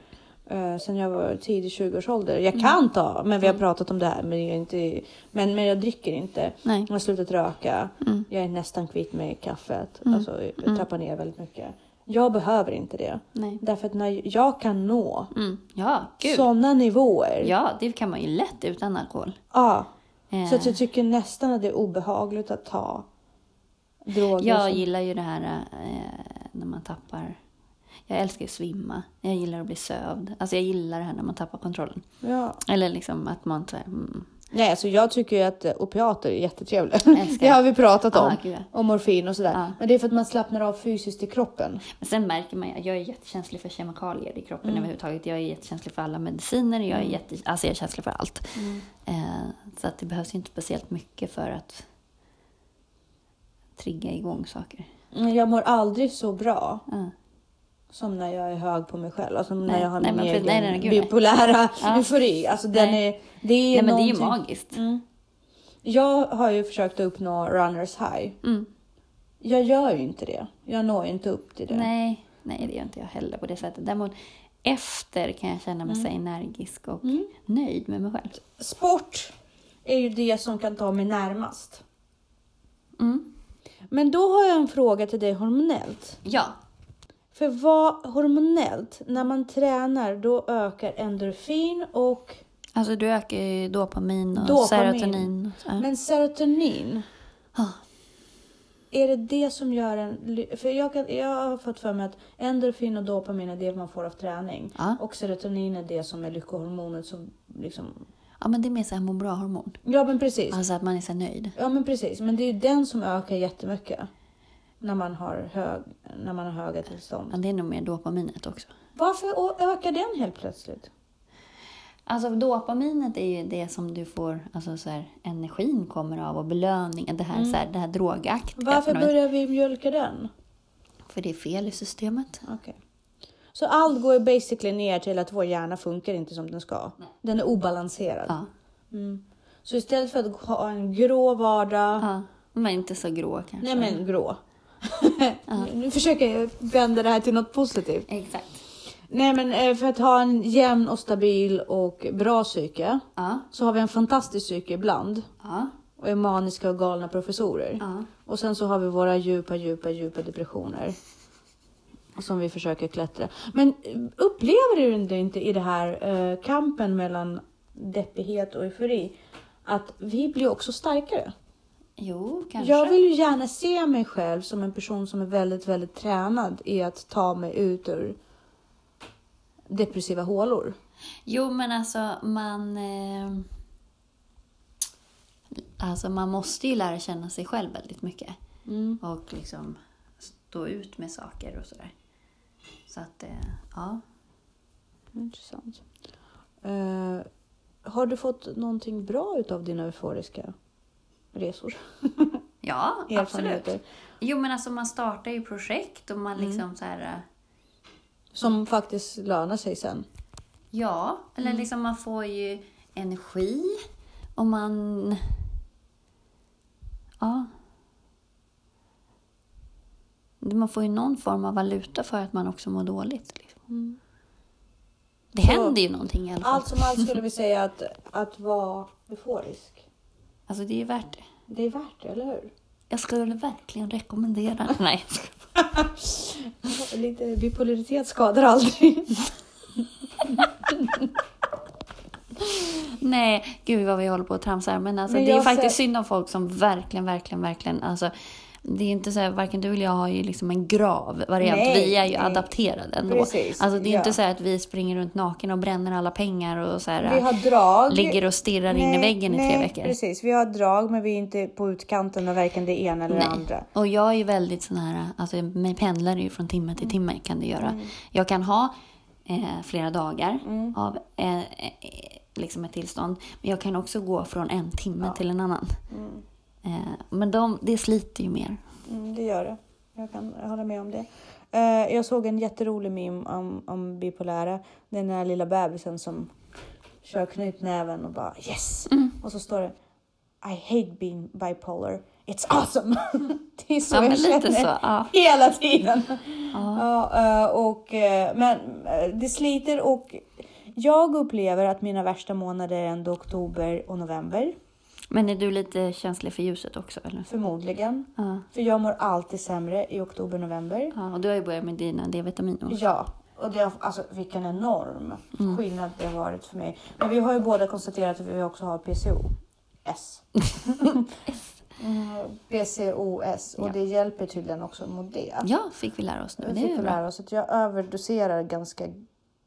[SPEAKER 1] Eh, Sen jag var tidig 20-årsålder.
[SPEAKER 2] Mm.
[SPEAKER 1] Jag kan ta, men vi har pratat om det här. Men jag, är inte, men, men jag dricker inte.
[SPEAKER 2] Nej.
[SPEAKER 1] Jag har slutat röka.
[SPEAKER 2] Mm.
[SPEAKER 1] Jag är nästan kvitt med kaffet. Alltså jag tappar ner väldigt mycket. Jag behöver inte det.
[SPEAKER 2] Nej.
[SPEAKER 1] Därför att när jag kan nå
[SPEAKER 2] Mm. Ja, gud.
[SPEAKER 1] sådana nivåer.
[SPEAKER 2] Ja, det kan man ju lätt utan alkohol.
[SPEAKER 1] Ja.
[SPEAKER 2] Eh,
[SPEAKER 1] Så att jag tycker nästan att det är obehagligt att ta droger.
[SPEAKER 2] jag
[SPEAKER 1] som...
[SPEAKER 2] gillar ju det här eh, när man tappar... Jag älskar ju att svimma. Jag gillar att bli sövd. Alltså jag gillar det här när man tappar kontrollen.
[SPEAKER 1] ja.
[SPEAKER 2] Eller liksom att man... Så här, mm,
[SPEAKER 1] Nej, alltså jag tycker ju att eh, opiater är jättetrevliga.
[SPEAKER 2] Älskar.
[SPEAKER 1] Det har vi pratat om.
[SPEAKER 2] Ah, gud, ja.
[SPEAKER 1] Och morfin och sådär.
[SPEAKER 2] Ja.
[SPEAKER 1] Men det är för att man slappnar av fysiskt i kroppen.
[SPEAKER 2] Men sen märker man ju, jag är jättekänslig för kemikalier i kroppen
[SPEAKER 1] Mm.
[SPEAKER 2] överhuvudtaget. Jag är jättekänslig för alla mediciner, jag är, jätte, alltså jag är känslig för allt. Eh, så att det behövs ju inte speciellt mycket för att trigga igång saker. Ah.
[SPEAKER 1] Mm, Jag mår aldrig så bra
[SPEAKER 2] Ja.
[SPEAKER 1] som när jag är hög på mig själv. Alltså när
[SPEAKER 2] Nej,
[SPEAKER 1] jag har
[SPEAKER 2] nej,
[SPEAKER 1] min
[SPEAKER 2] men för-
[SPEAKER 1] egen
[SPEAKER 2] nej, nej, gud, nej. Ah.
[SPEAKER 1] bipolära eufori. Alltså den
[SPEAKER 2] Nej.
[SPEAKER 1] är... Det är
[SPEAKER 2] Nej men det är ju
[SPEAKER 1] någonting-
[SPEAKER 2] magiskt.
[SPEAKER 1] Mm. Jag har ju försökt att uppnå runners high.
[SPEAKER 2] Mm.
[SPEAKER 1] Jag gör ju inte det. Jag når ju inte upp till det.
[SPEAKER 2] Nej, nej, typ det gör inte jag heller på det sättet. Däremot efter kan jag känna mig så energisk och
[SPEAKER 1] Mm.
[SPEAKER 2] nöjd med mig själv.
[SPEAKER 1] Sport är ju det som kan ta mig närmast.
[SPEAKER 2] Mm.
[SPEAKER 1] Men då har jag en fråga till dig hormonellt.
[SPEAKER 2] Ja,
[SPEAKER 1] För vad hormonellt, när man tränar då ökar endorfin och...
[SPEAKER 2] alltså du ökar ju dopamin och
[SPEAKER 1] Dopamin.
[SPEAKER 2] serotonin. och så- Ja.
[SPEAKER 1] Men serotonin,
[SPEAKER 2] Ja.
[SPEAKER 1] är det det som gör en... ly- För jag, kan, jag har fått för mig att endorfin och dopamin är det man får av träning.
[SPEAKER 2] Ja.
[SPEAKER 1] Och serotonin är det som är lyckohormonet som liksom...
[SPEAKER 2] ja, men det är mer så här må bra-hormon.
[SPEAKER 1] Ja men precis.
[SPEAKER 2] Alltså att man är så här nöjd.
[SPEAKER 1] Ja men precis, men det är ju den som ökar jättemycket. När man har, hög, när man har höga tillstånd.
[SPEAKER 2] Men det är nog mer dopaminet också.
[SPEAKER 1] Varför å- ökar den helt plötsligt?
[SPEAKER 2] Alltså dopaminet är ju det som du får, alltså så här, energin kommer av och belöningen, det här, så här, det här drogaktiga.
[SPEAKER 1] Varför
[SPEAKER 2] på något vis.
[SPEAKER 1] börjar vi mjölka den?
[SPEAKER 2] För det är fel i systemet.
[SPEAKER 1] Okej. Så allt går ju basically ner till att vår hjärna funkar inte som den ska. Den är obalanserad.
[SPEAKER 2] Ja.
[SPEAKER 1] Mm. Så istället för att ha en grå vardag.
[SPEAKER 2] ja. Men inte så grå
[SPEAKER 1] Nej
[SPEAKER 2] kanske.
[SPEAKER 1] men grå. nu försöker jag vända det här till något positivt.
[SPEAKER 2] Exakt.
[SPEAKER 1] Nej men eh, för att ha en jämn och stabil och bra psyke.
[SPEAKER 2] Ja.
[SPEAKER 1] Så har vi en fantastisk psyke ibland.
[SPEAKER 2] Ja.
[SPEAKER 1] och är maniska och galna professorer.
[SPEAKER 2] Ja.
[SPEAKER 1] Och sen så har vi våra djupa, djupa, djupa depressioner. Som vi försöker klättra. Men upplever du det inte i det här eh, kampen mellan deppighet och eufori att vi blir också starkare?
[SPEAKER 2] Jo, kanske.
[SPEAKER 1] Jag vill ju gärna se mig själv som en person som är väldigt, väldigt tränad i att ta mig ut ur depressiva hålor.
[SPEAKER 2] Jo, men alltså man... Eh, alltså man måste ju lära känna sig själv väldigt mycket.
[SPEAKER 1] Mm.
[SPEAKER 2] Och liksom stå ut med saker och sådär. Så att, eh, ja.
[SPEAKER 1] Intressant. Eh, har du fått någonting bra utav dina euforiska resor?
[SPEAKER 2] Ja, absolut.
[SPEAKER 1] Erfarenheter.
[SPEAKER 2] Jo, men alltså man startar ju projekt och
[SPEAKER 1] Mm.
[SPEAKER 2] man liksom så här... eh,
[SPEAKER 1] Som faktiskt lönar sig sen.
[SPEAKER 2] Ja, eller liksom man får ju energi och man... Ja. Man får ju någon form av valuta för att man också mår dåligt. Liksom. Det
[SPEAKER 1] Så-
[SPEAKER 2] händer ju någonting i alla fall.
[SPEAKER 1] Allt som allt skulle vi säga att, att vara euforisk
[SPEAKER 2] Alltså det är ju värt det.
[SPEAKER 1] Det är värt det, eller hur?
[SPEAKER 2] Jag skulle verkligen rekommendera. Nej, jag skojar.
[SPEAKER 1] Lite bipolaritet skadar aldrig.
[SPEAKER 2] Nej, gud vad vi håller på och tramsar. Men alltså,
[SPEAKER 1] Men
[SPEAKER 2] det är
[SPEAKER 1] jag
[SPEAKER 2] faktiskt
[SPEAKER 1] ser-
[SPEAKER 2] synd om folk som verkligen, verkligen, verkligen... Alltså, det är inte så här, varken du eller jag har ju liksom en grav variant.
[SPEAKER 1] Nej,
[SPEAKER 2] vi är
[SPEAKER 1] nej.
[SPEAKER 2] ju adapterade ändå.
[SPEAKER 1] Precis,
[SPEAKER 2] alltså, det är
[SPEAKER 1] ja.
[SPEAKER 2] inte så här att vi springer runt naken och bränner alla pengar och så här,
[SPEAKER 1] Vi har drag.
[SPEAKER 2] ligger och stirrar in i väggen i tre veckor.
[SPEAKER 1] precis. Vi har drag, men vi är inte på utkanten av varken det ena eller det andra.
[SPEAKER 2] Och jag är ju väldigt sån här, alltså mig pendlar det ju från timme
[SPEAKER 1] Mm.
[SPEAKER 2] till timme kan det göra. Jag kan ha eh, flera dagar
[SPEAKER 1] Mm.
[SPEAKER 2] av eh, eh, liksom ett tillstånd, men jag kan också gå från en timme till en annan. Eh, men de, det sliter ju mer.
[SPEAKER 1] Mm, det gör det. Jag kan hålla med om det. Eh, jag såg en jätterolig meme om, om bipolära. Det är Den där lilla bebisen som kör knytnäven och bara yes.
[SPEAKER 2] Mm.
[SPEAKER 1] Och så står det I hate being bipolar. It's awesome. det är så
[SPEAKER 2] Ja,
[SPEAKER 1] jag
[SPEAKER 2] men lite
[SPEAKER 1] känner
[SPEAKER 2] så. Ja.
[SPEAKER 1] hela tiden. Ja, eh, och, eh, men eh, det sliter och jag upplever att mina värsta månader är ändå oktober och november.
[SPEAKER 2] Men är du lite känslig för ljuset också? Eller?
[SPEAKER 1] Förmodligen.
[SPEAKER 2] Ja.
[SPEAKER 1] För jag mår alltid sämre i oktober november.
[SPEAKER 2] ja. Och du har ju börjat med dina D-vitamin också.
[SPEAKER 1] Ja, och det har, alltså, vilken enorm
[SPEAKER 2] Mm.
[SPEAKER 1] skillnad det har varit för mig. Men vi har ju båda konstaterat att vi också har PCOS. Mm, PCOS och
[SPEAKER 2] Ja.
[SPEAKER 1] det hjälper tydligen också mot det.
[SPEAKER 2] Ja, fick vi lära oss nu.
[SPEAKER 1] Jag
[SPEAKER 2] Det är
[SPEAKER 1] fick
[SPEAKER 2] ju
[SPEAKER 1] ju
[SPEAKER 2] bra.
[SPEAKER 1] lära oss att jag överdoserar ganska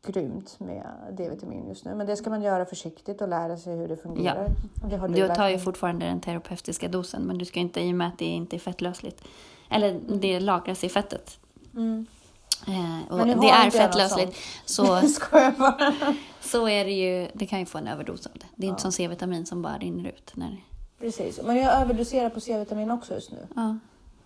[SPEAKER 1] grymt med D-vitamin just nu. Men det ska man göra försiktigt och lära sig hur det fungerar. Det har
[SPEAKER 2] Du tar ju
[SPEAKER 1] verkligen-
[SPEAKER 2] fortfarande den terapeutiska dosen, men du ska inte, i och med att det inte är fettlösligt, eller det lagras i fettet,
[SPEAKER 1] Mm.
[SPEAKER 2] Eh,
[SPEAKER 1] Men nu
[SPEAKER 2] och
[SPEAKER 1] har
[SPEAKER 2] det
[SPEAKER 1] inte
[SPEAKER 2] är
[SPEAKER 1] jag
[SPEAKER 2] fettlösligt. Så,
[SPEAKER 1] Skojar bara.
[SPEAKER 2] så är det ju, det kan ju få en överdos av det. Det är inte som C-vitamin som bara rinner ut. När,
[SPEAKER 1] Precis, men jag överdoserar på C-vitamin också just nu.
[SPEAKER 2] ja,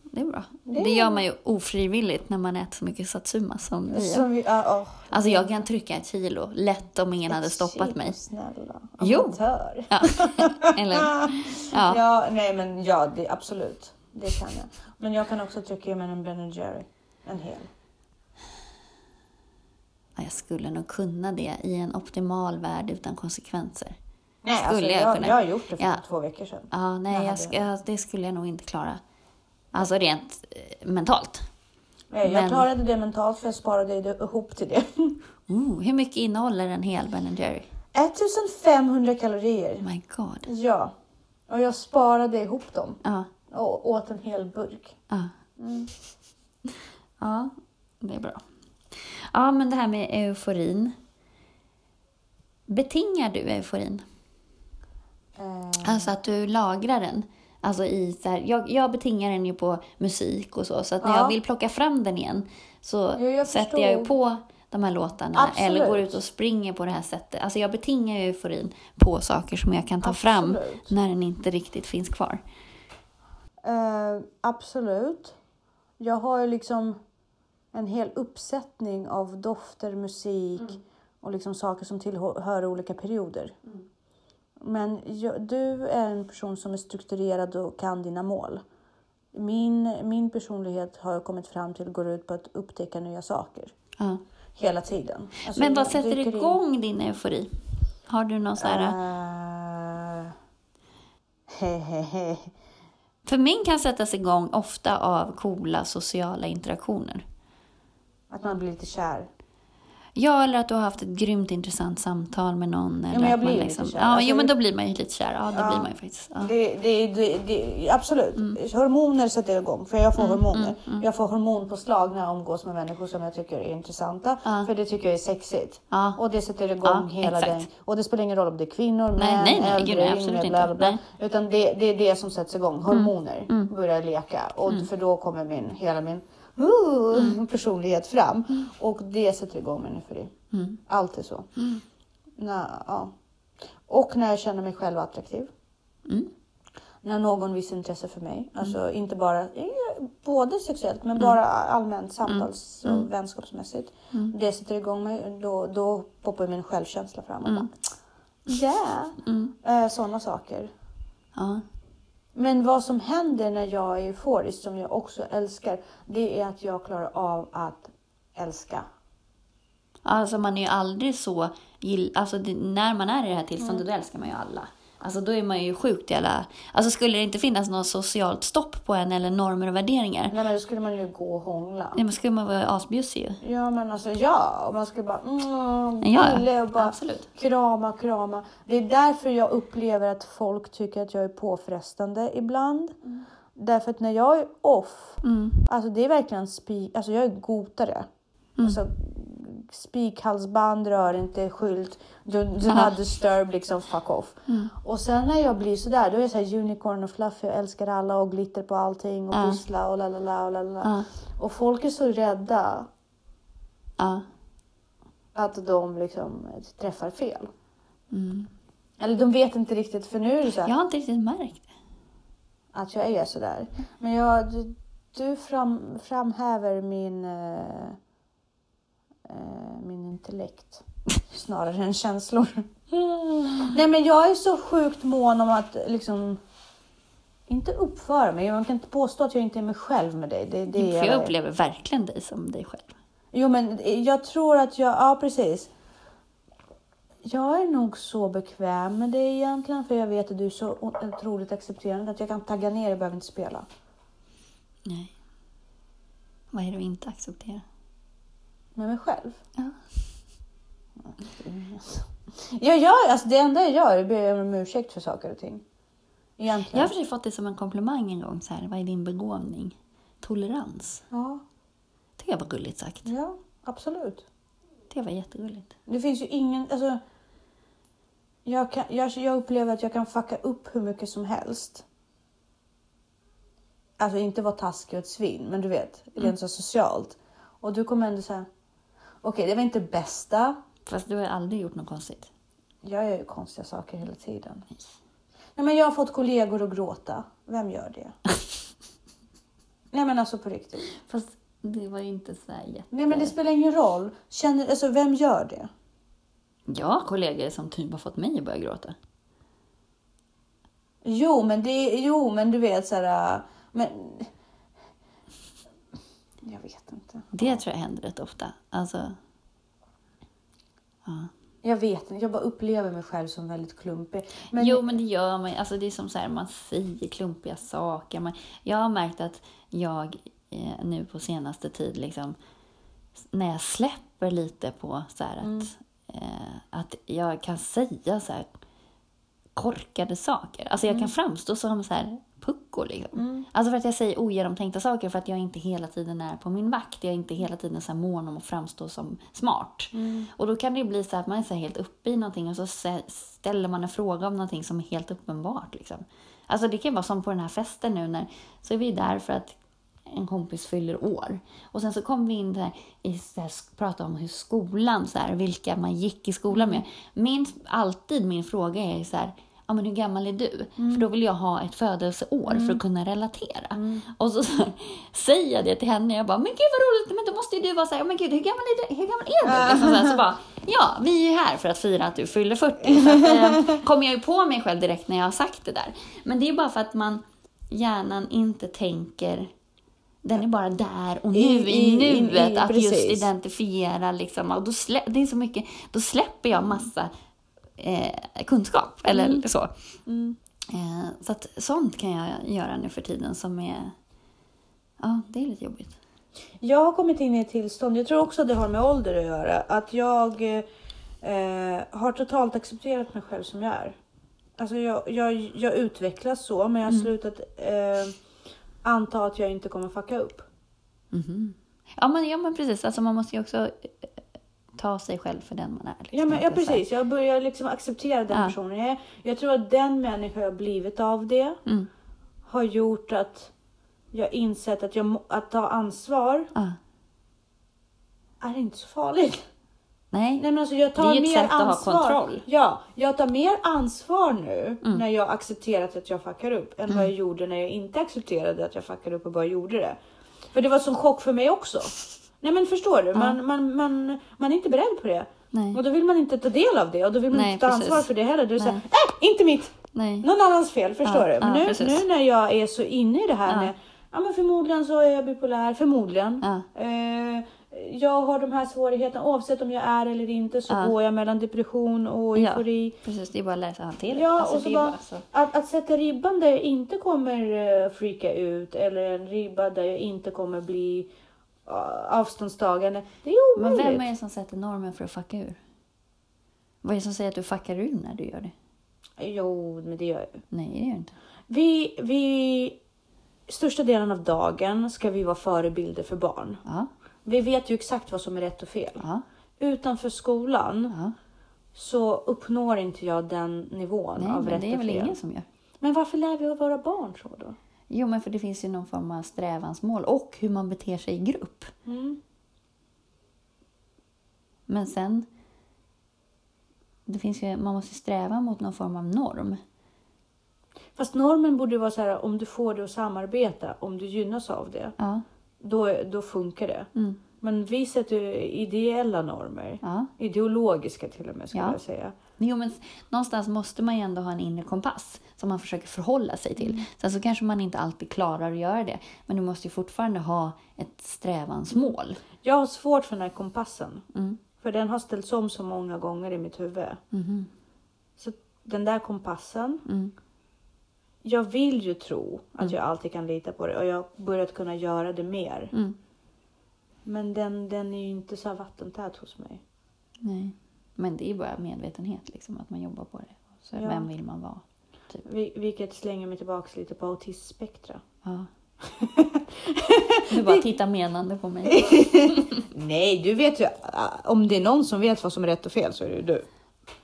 [SPEAKER 2] det är bra.
[SPEAKER 1] Det-
[SPEAKER 2] Det gör man ju ofrivilligt när man äter så mycket satsuma som vi gör.
[SPEAKER 1] Som vi, ja, åh.
[SPEAKER 2] Alltså jag kan trycka ett kilo lätt om ingen hade stoppat
[SPEAKER 1] Shit,
[SPEAKER 2] mig.
[SPEAKER 1] Snälla.
[SPEAKER 2] Jo.
[SPEAKER 1] Amatör. Ah,
[SPEAKER 2] Ja. Eller,
[SPEAKER 1] Ja.
[SPEAKER 2] ja.
[SPEAKER 1] nej men ja, det, absolut. Det kan jag. Men jag kan också trycka i mig en Ben Jerry. En hel.
[SPEAKER 2] Ja, Jag skulle nog kunna det i en optimal värld utan konsekvenser.
[SPEAKER 1] Nej,
[SPEAKER 2] Skulle
[SPEAKER 1] alltså,
[SPEAKER 2] jag
[SPEAKER 1] jag,
[SPEAKER 2] kunna?
[SPEAKER 1] jag har gjort det för
[SPEAKER 2] Ja.
[SPEAKER 1] två veckor sedan.
[SPEAKER 2] Ja, nej,
[SPEAKER 1] Nej,
[SPEAKER 2] jag ska, ja, det skulle jag nog inte klara. Alltså rent eh, mentalt.
[SPEAKER 1] Nej,
[SPEAKER 2] Men-
[SPEAKER 1] Jag klarade det mentalt för jag sparade det- ihop till det.
[SPEAKER 2] Oh, hur mycket innehåller en hel Ben Jerry?
[SPEAKER 1] 1500 kalorier.
[SPEAKER 2] My god.
[SPEAKER 1] Ja. Och jag sparade ihop dem
[SPEAKER 2] Ja,
[SPEAKER 1] och åt en hel burk. Mm.
[SPEAKER 2] ja. Ja, det är bra. Ja, men det här med euforin. Betingar du euforin?
[SPEAKER 1] Eh,
[SPEAKER 2] Alltså att du lagrar den? Alltså i så här, jag, jag betingar den ju på musik och så, så att när
[SPEAKER 1] Ja.
[SPEAKER 2] jag vill plocka fram den igen så
[SPEAKER 1] Jo, jag
[SPEAKER 2] sätter
[SPEAKER 1] förstod.
[SPEAKER 2] jag ju på de här låtarna
[SPEAKER 1] Absolut.
[SPEAKER 2] eller går ut och springer på det här sättet. Alltså jag betingar ju euforin på saker som jag kan ta fram
[SPEAKER 1] Absolut.
[SPEAKER 2] när den inte riktigt finns kvar.
[SPEAKER 1] Eh, absolut. Jag har ju liksom en hel uppsättning av dofter, musik
[SPEAKER 2] Mm.
[SPEAKER 1] och liksom saker som tillhör olika perioder.
[SPEAKER 2] Mm.
[SPEAKER 1] Men jag, du är en person som är strukturerad och kan dina mål. Min, min personlighet har jag kommit fram till går ut på att upptäcka nya saker
[SPEAKER 2] Ja.
[SPEAKER 1] hela tiden. Alltså,
[SPEAKER 2] Men vad
[SPEAKER 1] jag
[SPEAKER 2] sätter
[SPEAKER 1] dyker in-
[SPEAKER 2] igång din eufori? Har du någon så här...
[SPEAKER 1] Eh, hehehe.
[SPEAKER 2] För min kan sättas igång ofta av coola sociala interaktioner.
[SPEAKER 1] Att man blir lite kär.
[SPEAKER 2] Ja, eller att du har haft ett grymt intressant samtal med någon. Eller
[SPEAKER 1] men jag
[SPEAKER 2] att man
[SPEAKER 1] blir lite
[SPEAKER 2] liksom...
[SPEAKER 1] kär.
[SPEAKER 2] Ja,
[SPEAKER 1] Alltså,
[SPEAKER 2] jo, men
[SPEAKER 1] det-
[SPEAKER 2] då blir man ju lite kär. Ja, det blir man ju faktiskt. Ja.
[SPEAKER 1] Det, det, det, det, absolut.
[SPEAKER 2] Mm.
[SPEAKER 1] Hormoner sätter igång. För jag får hormoner. Jag får hormonpåslag när jag omgås med människor som jag tycker är intressanta. För det tycker jag är sexigt.
[SPEAKER 2] Ja.
[SPEAKER 1] Och det sätter igång
[SPEAKER 2] Ja,
[SPEAKER 1] hela
[SPEAKER 2] exakt.
[SPEAKER 1] den. Och det spelar ingen roll om det är kvinnor,
[SPEAKER 2] Nej,
[SPEAKER 1] män,
[SPEAKER 2] nej, nej, gud, nej,
[SPEAKER 1] äldre,
[SPEAKER 2] absolut
[SPEAKER 1] yngre,
[SPEAKER 2] inte.
[SPEAKER 1] bla bla bla.
[SPEAKER 2] Nej. Mm.
[SPEAKER 1] Utan det, det är det som sätts igång. Hormoner börjar leka. Och För då kommer min, hela min uh,
[SPEAKER 2] Mm.
[SPEAKER 1] personlighet fram. Och det sätter igång min eufori. Mm. Alltid så. Nå, ja. Och när jag känner mig själv attraktiv
[SPEAKER 2] Mm.
[SPEAKER 1] när någon visar intresse för mig. Alltså inte bara, eh, både sexuellt
[SPEAKER 2] Mm.
[SPEAKER 1] men bara allmänt samtals och vänskapsmässigt.
[SPEAKER 2] Mm.
[SPEAKER 1] Det sätter igång mig, då, då poppar min självkänsla fram.
[SPEAKER 2] Mm.
[SPEAKER 1] Och bara, yeah! Eh, Sådana saker.
[SPEAKER 2] Ja.
[SPEAKER 1] Men vad som händer när jag är euforisk, som jag också älskar, det är att jag klarar av att älska. Mm.
[SPEAKER 2] Alltså man är ju aldrig så... Gill... Alltså det, när man är i det här tillståndet, då älskar man ju alla. Alltså då är man ju sjukt jävla... Alltså skulle det inte finnas något socialt stopp på en eller normer och värderingar,
[SPEAKER 1] Nej men då skulle man ju gå och hångla.
[SPEAKER 2] nej, men skulle man vara asbjussig ju.
[SPEAKER 1] Ja men alltså ja, och man skulle bara mm,
[SPEAKER 2] Ja, ja.
[SPEAKER 1] gulle och bara
[SPEAKER 2] Absolut.
[SPEAKER 1] krama, krama. Det är därför jag upplever att folk tycker att jag är påfrestande ibland. Därför att när jag är off,
[SPEAKER 2] Mm.
[SPEAKER 1] alltså det är verkligen spik, alltså jag är gotare.
[SPEAKER 2] Mm.
[SPEAKER 1] Alltså, spikhalsband, rör inte, skylt, do, do not disturb, liksom fuck off.
[SPEAKER 2] Mm.
[SPEAKER 1] Och sen när jag blir sådär, då är jag såhär unicorn och fluffy och älskar alla och glitter på allting och
[SPEAKER 2] Ja.
[SPEAKER 1] pyssla och la la la och la la.
[SPEAKER 2] Ja.
[SPEAKER 1] Och folk är så rädda
[SPEAKER 2] Ja.
[SPEAKER 1] att de liksom träffar fel.
[SPEAKER 2] Mm.
[SPEAKER 1] Eller de vet inte riktigt för nu är det så här,
[SPEAKER 2] Jag har inte riktigt märkt det.
[SPEAKER 1] att jag är sådär. Men jag, du, du fram, framhäver min, eh, eh, min intellekt snarare än känslor. Nej men jag är så sjukt mån om att liksom inte uppföra mig. Man kan inte påstå att jag inte är mig själv med dig. Det, det är
[SPEAKER 2] För
[SPEAKER 1] jag
[SPEAKER 2] jag upplever verkligen dig som dig själv.
[SPEAKER 1] Jo, men jag tror att jag... Ja, precis. Jag är nog så bekväm med dig egentligen, för jag vet att du är så o- otroligt accepterande att jag kan tagga ner och behöver inte spela.
[SPEAKER 2] Nej. Vad är det du inte accepterar?
[SPEAKER 1] Med mig själv.
[SPEAKER 2] Ja.
[SPEAKER 1] Jag gör, alltså det enda jag gör är att be om ursäkt för saker och ting.
[SPEAKER 2] Jag
[SPEAKER 1] Egentligen.
[SPEAKER 2] har precis fått det som en komplimang en gång. Så här, vad är din begåvning? Tolerans.
[SPEAKER 1] Ja,
[SPEAKER 2] tycker jag var gulligt sagt.
[SPEAKER 1] ja, absolut.
[SPEAKER 2] Det var jättegulligt.
[SPEAKER 1] Det finns ju ingen... Alltså, jag, kan, jag, jag upplever att jag kan fucka upp hur mycket som helst. Alltså inte vara taskig och ett svin, men du vet, rent så socialt. Och du kommer ändå säga, okej det var inte det bästa.
[SPEAKER 2] Fast du har aldrig gjort något konstigt.
[SPEAKER 1] Jag gör ju konstiga saker hela tiden. Nej men jag har fått kollegor att gråta. Vem gör det? Nej men alltså på riktigt.
[SPEAKER 2] Fast det var ju inte så här jätte...
[SPEAKER 1] Nej men det spelar ingen roll. Känner, alltså vem gör det?
[SPEAKER 2] Jag har kollegor som typ har fått mig att börja gråta.
[SPEAKER 1] Jo, men det jo, men du vet så här, äh, men jag vet inte.
[SPEAKER 2] Det tror jag händer rätt ofta. Alltså... Ja.
[SPEAKER 1] Jag vet inte. Jag bara upplever mig själv som väldigt klumpig. Men
[SPEAKER 2] jo, men det gör man ju. Alltså, det är som så här, man säger klumpiga saker. Man, jag har märkt att jag eh, nu på senaste tid, liksom, s- när jag släpper lite på så här att, eh, att jag kan säga så här korkade saker. Alltså jag kan framstå som så här pucko liksom. Alltså för att jag säger ogenomtänkta saker för att jag inte hela tiden är på min vakt. Jag är inte hela tiden så här mån om att framstå som smart. Och då kan det ju bli så att man är så här helt uppe i någonting och så sä- ställer man en fråga om någonting som är helt uppenbart liksom. Alltså det kan ju vara som på den här festen nu när så är vi där för att en kompis fyller år. Och sen så kom vi in där i så här, sk- prata om hur skolan, så här, vilka man gick i skolan med. Min, alltid min fråga är ju så här, ja men hur gammal är du? För då vill jag ha ett födelseår för att kunna relatera. Och så, så här, säger jag det till henne, jag bara, men gud vad roligt, men då måste ju du vara så här, "Ja, men gud hur gammal är du? Hur gammal är du? Liksom så, här, så bara, ja vi är ju här för att fira att du fyller 40. Så att, eh, kom jag ju på mig själv direkt när jag har sagt det där. Men det är bara för att man, hjärnan inte tänker den är bara där och nu i,
[SPEAKER 1] I- i- i- i-
[SPEAKER 2] nuet. att just
[SPEAKER 1] precis.
[SPEAKER 2] identifiera liksom. Och då, slä, det är så mycket, då släpper jag massa eh, kunskap. Eller
[SPEAKER 1] Mm.
[SPEAKER 2] så. Eh, så att sånt kan jag göra nu för tiden som är... Ja, det är lite jobbigt.
[SPEAKER 1] jag har kommit in i ett tillstånd. Jag tror också att det har med ålder att göra. Att jag eh, har totalt accepterat mig själv som jag är. Alltså jag, jag, jag utvecklas så, men jag har
[SPEAKER 2] Mm.
[SPEAKER 1] slutat eh, anta att jag inte kommer fucka upp. Mm-hmm.
[SPEAKER 2] Mhm. Ja, men, ja, men precis. Alltså, man måste ju också eh, ta sig själv för den man är. liksom.
[SPEAKER 1] Ja, men, ja
[SPEAKER 2] Att det är så här-
[SPEAKER 1] precis. Jag börjar liksom acceptera den
[SPEAKER 2] Ja.
[SPEAKER 1] personen jag är. Jag tror att den människa jag blivit av det
[SPEAKER 2] Mm.
[SPEAKER 1] har gjort att jag insett att, jag, må- att ta ansvar
[SPEAKER 2] Ja.
[SPEAKER 1] är inte så farligt.
[SPEAKER 2] Nej.
[SPEAKER 1] Nej, men alltså jag tar
[SPEAKER 2] Det är ju ett
[SPEAKER 1] mer
[SPEAKER 2] sätt att ha
[SPEAKER 1] ansvar.
[SPEAKER 2] kontroll.
[SPEAKER 1] Ja, jag tar mer ansvar nu när jag accepterat att jag fuckar upp än
[SPEAKER 2] Mm.
[SPEAKER 1] vad jag gjorde när jag inte accepterade att jag fuckade upp och bara gjorde det. För det var som chock för mig också. Nej men förstår du, man, man, man, man är inte beredd på det.
[SPEAKER 2] Nej.
[SPEAKER 1] Och då vill man inte ta del av det och då vill man
[SPEAKER 2] Nej,
[SPEAKER 1] inte ta
[SPEAKER 2] precis.
[SPEAKER 1] ansvar för det heller. Då är det såhär,
[SPEAKER 2] Nej.
[SPEAKER 1] äh, inte mitt!
[SPEAKER 2] Nej.
[SPEAKER 1] Någon annans fel, förstår
[SPEAKER 2] Ja,
[SPEAKER 1] du? Men
[SPEAKER 2] ja,
[SPEAKER 1] nu,
[SPEAKER 2] precis.
[SPEAKER 1] nu när jag är så inne i det här
[SPEAKER 2] Ja.
[SPEAKER 1] med, ja men förmodligen så är jag bipolär, förmodligen.
[SPEAKER 2] Ja.
[SPEAKER 1] Eh, jag har de här svårigheterna oavsett om jag är eller inte så
[SPEAKER 2] Ja.
[SPEAKER 1] går jag mellan depression och
[SPEAKER 2] Ja.
[SPEAKER 1] eufori.
[SPEAKER 2] Precis, det är bara att läsa hantera.
[SPEAKER 1] Ja,
[SPEAKER 2] Alltså,
[SPEAKER 1] och så
[SPEAKER 2] det är
[SPEAKER 1] bara,
[SPEAKER 2] bara så.
[SPEAKER 1] Att, att sätta ribban där jag inte kommer eh, freaka ut eller en ribba där jag inte kommer bli eh, avståndstagande. Det är
[SPEAKER 2] Men
[SPEAKER 1] omöjligt.
[SPEAKER 2] vem är det som sätter normen för att fucka ur? Vad är det som säger att du fuckar ur när du gör det?
[SPEAKER 1] Jo, men det gör jag.
[SPEAKER 2] Nej, det gör du inte.
[SPEAKER 1] Vi, vi... Största delen av dagen ska vi vara förebilder för barn.
[SPEAKER 2] Ja,
[SPEAKER 1] Vi vet ju exakt vad som är rätt och fel.
[SPEAKER 2] ja,
[SPEAKER 1] Utanför skolan
[SPEAKER 2] ja.
[SPEAKER 1] så uppnår inte jag den nivån
[SPEAKER 2] Nej,
[SPEAKER 1] av
[SPEAKER 2] men
[SPEAKER 1] rätt
[SPEAKER 2] det är
[SPEAKER 1] och fel.
[SPEAKER 2] väl ingen som gör.
[SPEAKER 1] Men varför lär vi våra barn så då?
[SPEAKER 2] Jo, men för det finns ju någon form av strävansmål och hur man beter sig i grupp. Men sen, det finns ju, man måste sträva mot någon form av norm.
[SPEAKER 1] Fast normen borde ju vara så här om du får det att samarbeta, om du gynnas av det,
[SPEAKER 2] Ja,
[SPEAKER 1] då, då funkar det.
[SPEAKER 2] mm,
[SPEAKER 1] Men vi sätter ju ideella normer,
[SPEAKER 2] ja.
[SPEAKER 1] ideologiska till och med skulle
[SPEAKER 2] Ja.
[SPEAKER 1] jag säga.
[SPEAKER 2] Jo, men s- någonstans måste man ju ändå ha en inre kompass som man försöker förhålla sig till. Sen så kanske man inte alltid klarar att göra det, men du måste ju fortfarande ha ett strävansmål.
[SPEAKER 1] Jag har svårt för den här kompassen,
[SPEAKER 2] Mm.
[SPEAKER 1] för den har ställts om så många gånger i mitt huvud.
[SPEAKER 2] Mhm.
[SPEAKER 1] Så den där kompassen,
[SPEAKER 2] Mm.
[SPEAKER 1] jag vill ju tro att jag alltid kan lita på det och jag har börjat kunna göra det mer.
[SPEAKER 2] Mm.
[SPEAKER 1] Men den, den är ju inte så här vattentät hos mig.
[SPEAKER 2] Nej. Men det är ju bara medvetenhet, liksom, att man jobbar på det. Så
[SPEAKER 1] Ja.
[SPEAKER 2] Vem vill man vara?
[SPEAKER 1] Vi- Vilket slänger mig tillbaks lite på autismspektra.
[SPEAKER 2] Ja. Du bara tittar menande på mig.
[SPEAKER 1] Nej, du vet ju. äh, Om det är någon som vet vad som är rätt och fel så är det ju du.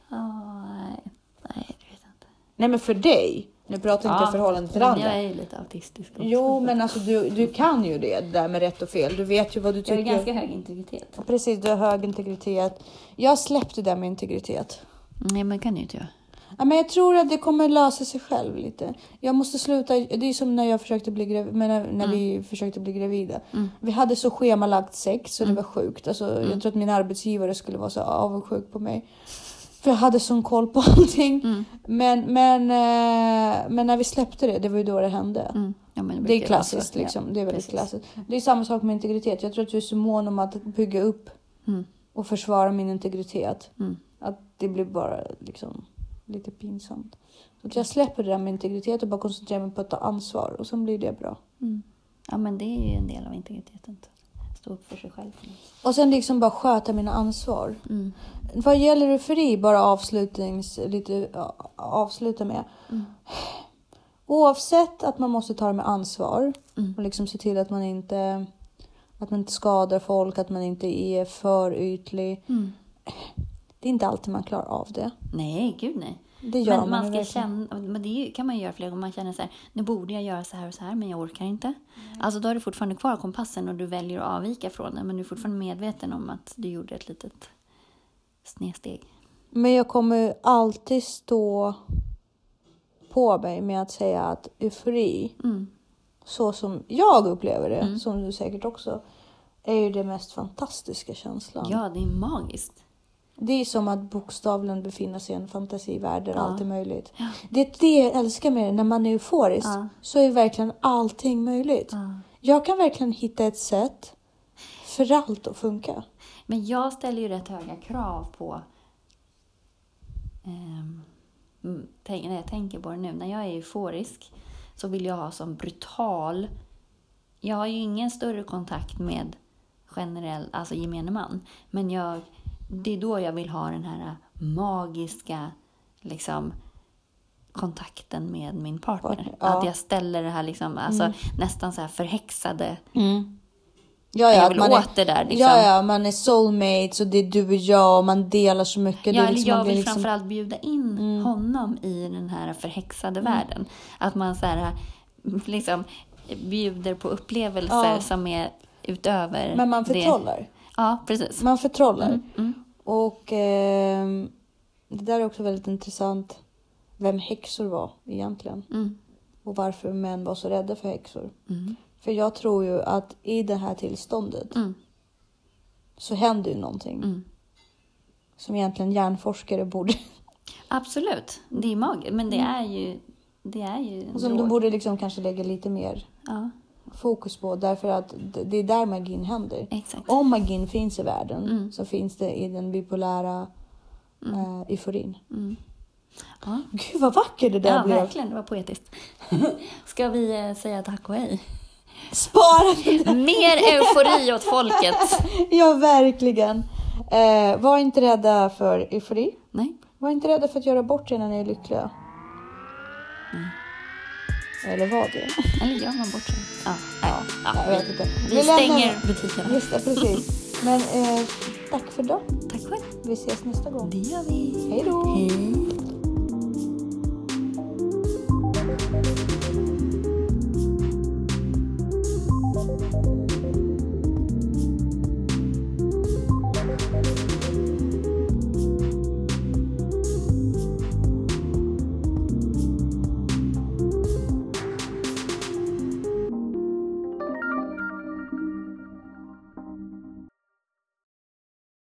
[SPEAKER 2] Ja, nej. nej, det vet jag inte.
[SPEAKER 1] Nej, men för dig. Nu pratar inte jag förhållande till
[SPEAKER 2] men
[SPEAKER 1] andra.
[SPEAKER 2] Jag är ju lite autistisk också.
[SPEAKER 1] Jo, men alltså du, du kan ju det där med rätt och fel. Du vet ju vad du
[SPEAKER 2] Jag har
[SPEAKER 1] tycker. Mm.
[SPEAKER 2] ganska hög integritet.
[SPEAKER 1] Precis, du har hög integritet. Jag släppte det där med integritet.
[SPEAKER 2] Nej, men kan ju inte jag.
[SPEAKER 1] Ja, men jag tror att det kommer lösa sig själv lite. Jag måste sluta. Det är som när jag försökte bli gravid, men när,
[SPEAKER 2] Mm.
[SPEAKER 1] när vi försökte bli gravida. Vi hade så schemalagt sex
[SPEAKER 2] Mm.
[SPEAKER 1] så det var sjukt. Alltså, Jag tror att min arbetsgivare skulle vara så avundsjuk på mig. För jag hade sån koll på
[SPEAKER 2] Mm.
[SPEAKER 1] allting. Men, men, eh, men när vi släppte det, det var ju då det hände.
[SPEAKER 2] Mm. Ja, men
[SPEAKER 1] Det
[SPEAKER 2] brukar
[SPEAKER 1] är
[SPEAKER 2] ju vara
[SPEAKER 1] klassiskt
[SPEAKER 2] så.
[SPEAKER 1] liksom. Det är väldigt
[SPEAKER 2] precis. Mm.
[SPEAKER 1] klassiskt. Det är samma sak med integritet. Jag tror att jag är så mån om att bygga upp
[SPEAKER 2] Mm.
[SPEAKER 1] och försvara min integritet.
[SPEAKER 2] Mm.
[SPEAKER 1] Att det blir bara liksom lite pinsamt. Så att jag släpper det där med integritet och bara koncentrerar mig på att ta ansvar och sen blir det bra.
[SPEAKER 2] Ja. Mm. ja, men det är ju en del av integriteten. Stå upp för sig själv.
[SPEAKER 1] Och sen liksom bara sköta mina ansvar.
[SPEAKER 2] Mm.
[SPEAKER 1] Vad gäller eufori, bara avslutnings, lite ja, avsluta med.
[SPEAKER 2] Mm.
[SPEAKER 1] Oavsett att man måste ta det med ansvar
[SPEAKER 2] Mm.
[SPEAKER 1] och liksom se till att man inte att man inte skadar folk, att man inte är för ytlig.
[SPEAKER 2] Mm.
[SPEAKER 1] Det är inte alltid man klarar av det.
[SPEAKER 2] Nej, gud nej.
[SPEAKER 1] Det gör
[SPEAKER 2] Men
[SPEAKER 1] man
[SPEAKER 2] man
[SPEAKER 1] ju
[SPEAKER 2] ska
[SPEAKER 1] verkligen.
[SPEAKER 2] känna, men det är ju- kan man ju göra flera gånger. Man känner så här, nu borde jag göra så här och så här, men jag orkar inte. Alltså då har du fortfarande kvar kompassen och du väljer att avvika från den, men du är fortfarande medveten om att du gjorde ett litet snedsteg.
[SPEAKER 1] Men jag kommer ju alltid stå på mig med att säga att eufori,
[SPEAKER 2] Mm.
[SPEAKER 1] så som jag upplever det, som du säkert också, är ju den mest fantastiska känslan.
[SPEAKER 2] Ja, det är magiskt.
[SPEAKER 1] Det är som att bokstavligen befinna sig i en fantasivärld där
[SPEAKER 2] Ja.
[SPEAKER 1] allt är möjligt. Det är det jag älskar med det, när man är euforisk
[SPEAKER 2] Ja.
[SPEAKER 1] så är verkligen allting möjligt. Jag kan verkligen hitta ett sätt för allt att funka.
[SPEAKER 2] Men jag ställer ju rätt höga krav på... ehm, mm, tänk, när jag tänker på det nu, när jag är euforisk så vill jag ha som brutal... Jag har ju ingen större kontakt med generell, alltså gemene man. Men jag, det är då jag vill ha den här magiska liksom, kontakten med min partner.
[SPEAKER 1] Partner, ja. Mm.
[SPEAKER 2] Att jag ställer det här liksom, alltså, nästan så här förhäxade. Mm.
[SPEAKER 1] Ja,
[SPEAKER 2] jag
[SPEAKER 1] ja, att
[SPEAKER 2] vill
[SPEAKER 1] man är,
[SPEAKER 2] åt det där. Liksom.
[SPEAKER 1] ja, ja, man är soulmates och det är du och jag och man delar så mycket. Det
[SPEAKER 2] Ja,
[SPEAKER 1] är
[SPEAKER 2] eller
[SPEAKER 1] liksom-
[SPEAKER 2] jag
[SPEAKER 1] man blir
[SPEAKER 2] vill
[SPEAKER 1] liksom- Mm.
[SPEAKER 2] framförallt bjuda in honom i den här förhäxade världen. Att man så här, liksom, bjuder på upplevelser
[SPEAKER 1] Ja.
[SPEAKER 2] som är utöver
[SPEAKER 1] Men man
[SPEAKER 2] det.
[SPEAKER 1] förtrollar.
[SPEAKER 2] Ja, precis.
[SPEAKER 1] Man förtrollar.
[SPEAKER 2] Mm.
[SPEAKER 1] Och ehm, det där är också väldigt intressant. Vem häxor var egentligen
[SPEAKER 2] Mm.
[SPEAKER 1] och varför män var så rädda för häxor.
[SPEAKER 2] Mm.
[SPEAKER 1] För jag tror ju att i det här tillståndet
[SPEAKER 2] Mm.
[SPEAKER 1] så händer ju någonting
[SPEAKER 2] Mm.
[SPEAKER 1] som egentligen hjärnforskare borde,
[SPEAKER 2] Absolut, det är magiskt. Men det är ju... Det är ju en
[SPEAKER 1] Mm. och som de
[SPEAKER 2] drog.
[SPEAKER 1] borde liksom kanske lägga lite mer
[SPEAKER 2] ja.
[SPEAKER 1] fokus på därför att d- det är där magin händer.
[SPEAKER 2] Exakt.
[SPEAKER 1] Om magin finns i världen
[SPEAKER 2] Mm.
[SPEAKER 1] så finns det i den bipolära eh, euforin.
[SPEAKER 2] Ja.
[SPEAKER 1] Gud vad vackert det där
[SPEAKER 2] mm. Ja,
[SPEAKER 1] blev!
[SPEAKER 2] verkligen. Det var poetiskt. Ska vi eh, säga tack och hej?
[SPEAKER 1] Spara det där!
[SPEAKER 2] Mer eufori åt folket!
[SPEAKER 1] Ja, verkligen. Eh, var inte rädda för eufori.
[SPEAKER 2] Nej.
[SPEAKER 1] Var inte rädda för att göra bort er när ni är lyckliga. Eller var det?
[SPEAKER 2] Eller gör man bort sig? Ja, nej. ja.
[SPEAKER 1] Jag vet inte.
[SPEAKER 2] Vi,
[SPEAKER 1] Vi
[SPEAKER 2] vi
[SPEAKER 1] lämnar-
[SPEAKER 2] stänger butikerna.
[SPEAKER 1] Just det, precis. Men eh, tack för idag.
[SPEAKER 2] Tack själv.
[SPEAKER 1] Vi ses nästa gång.
[SPEAKER 2] Det gör vi.
[SPEAKER 1] Hej då!
[SPEAKER 2] Hej.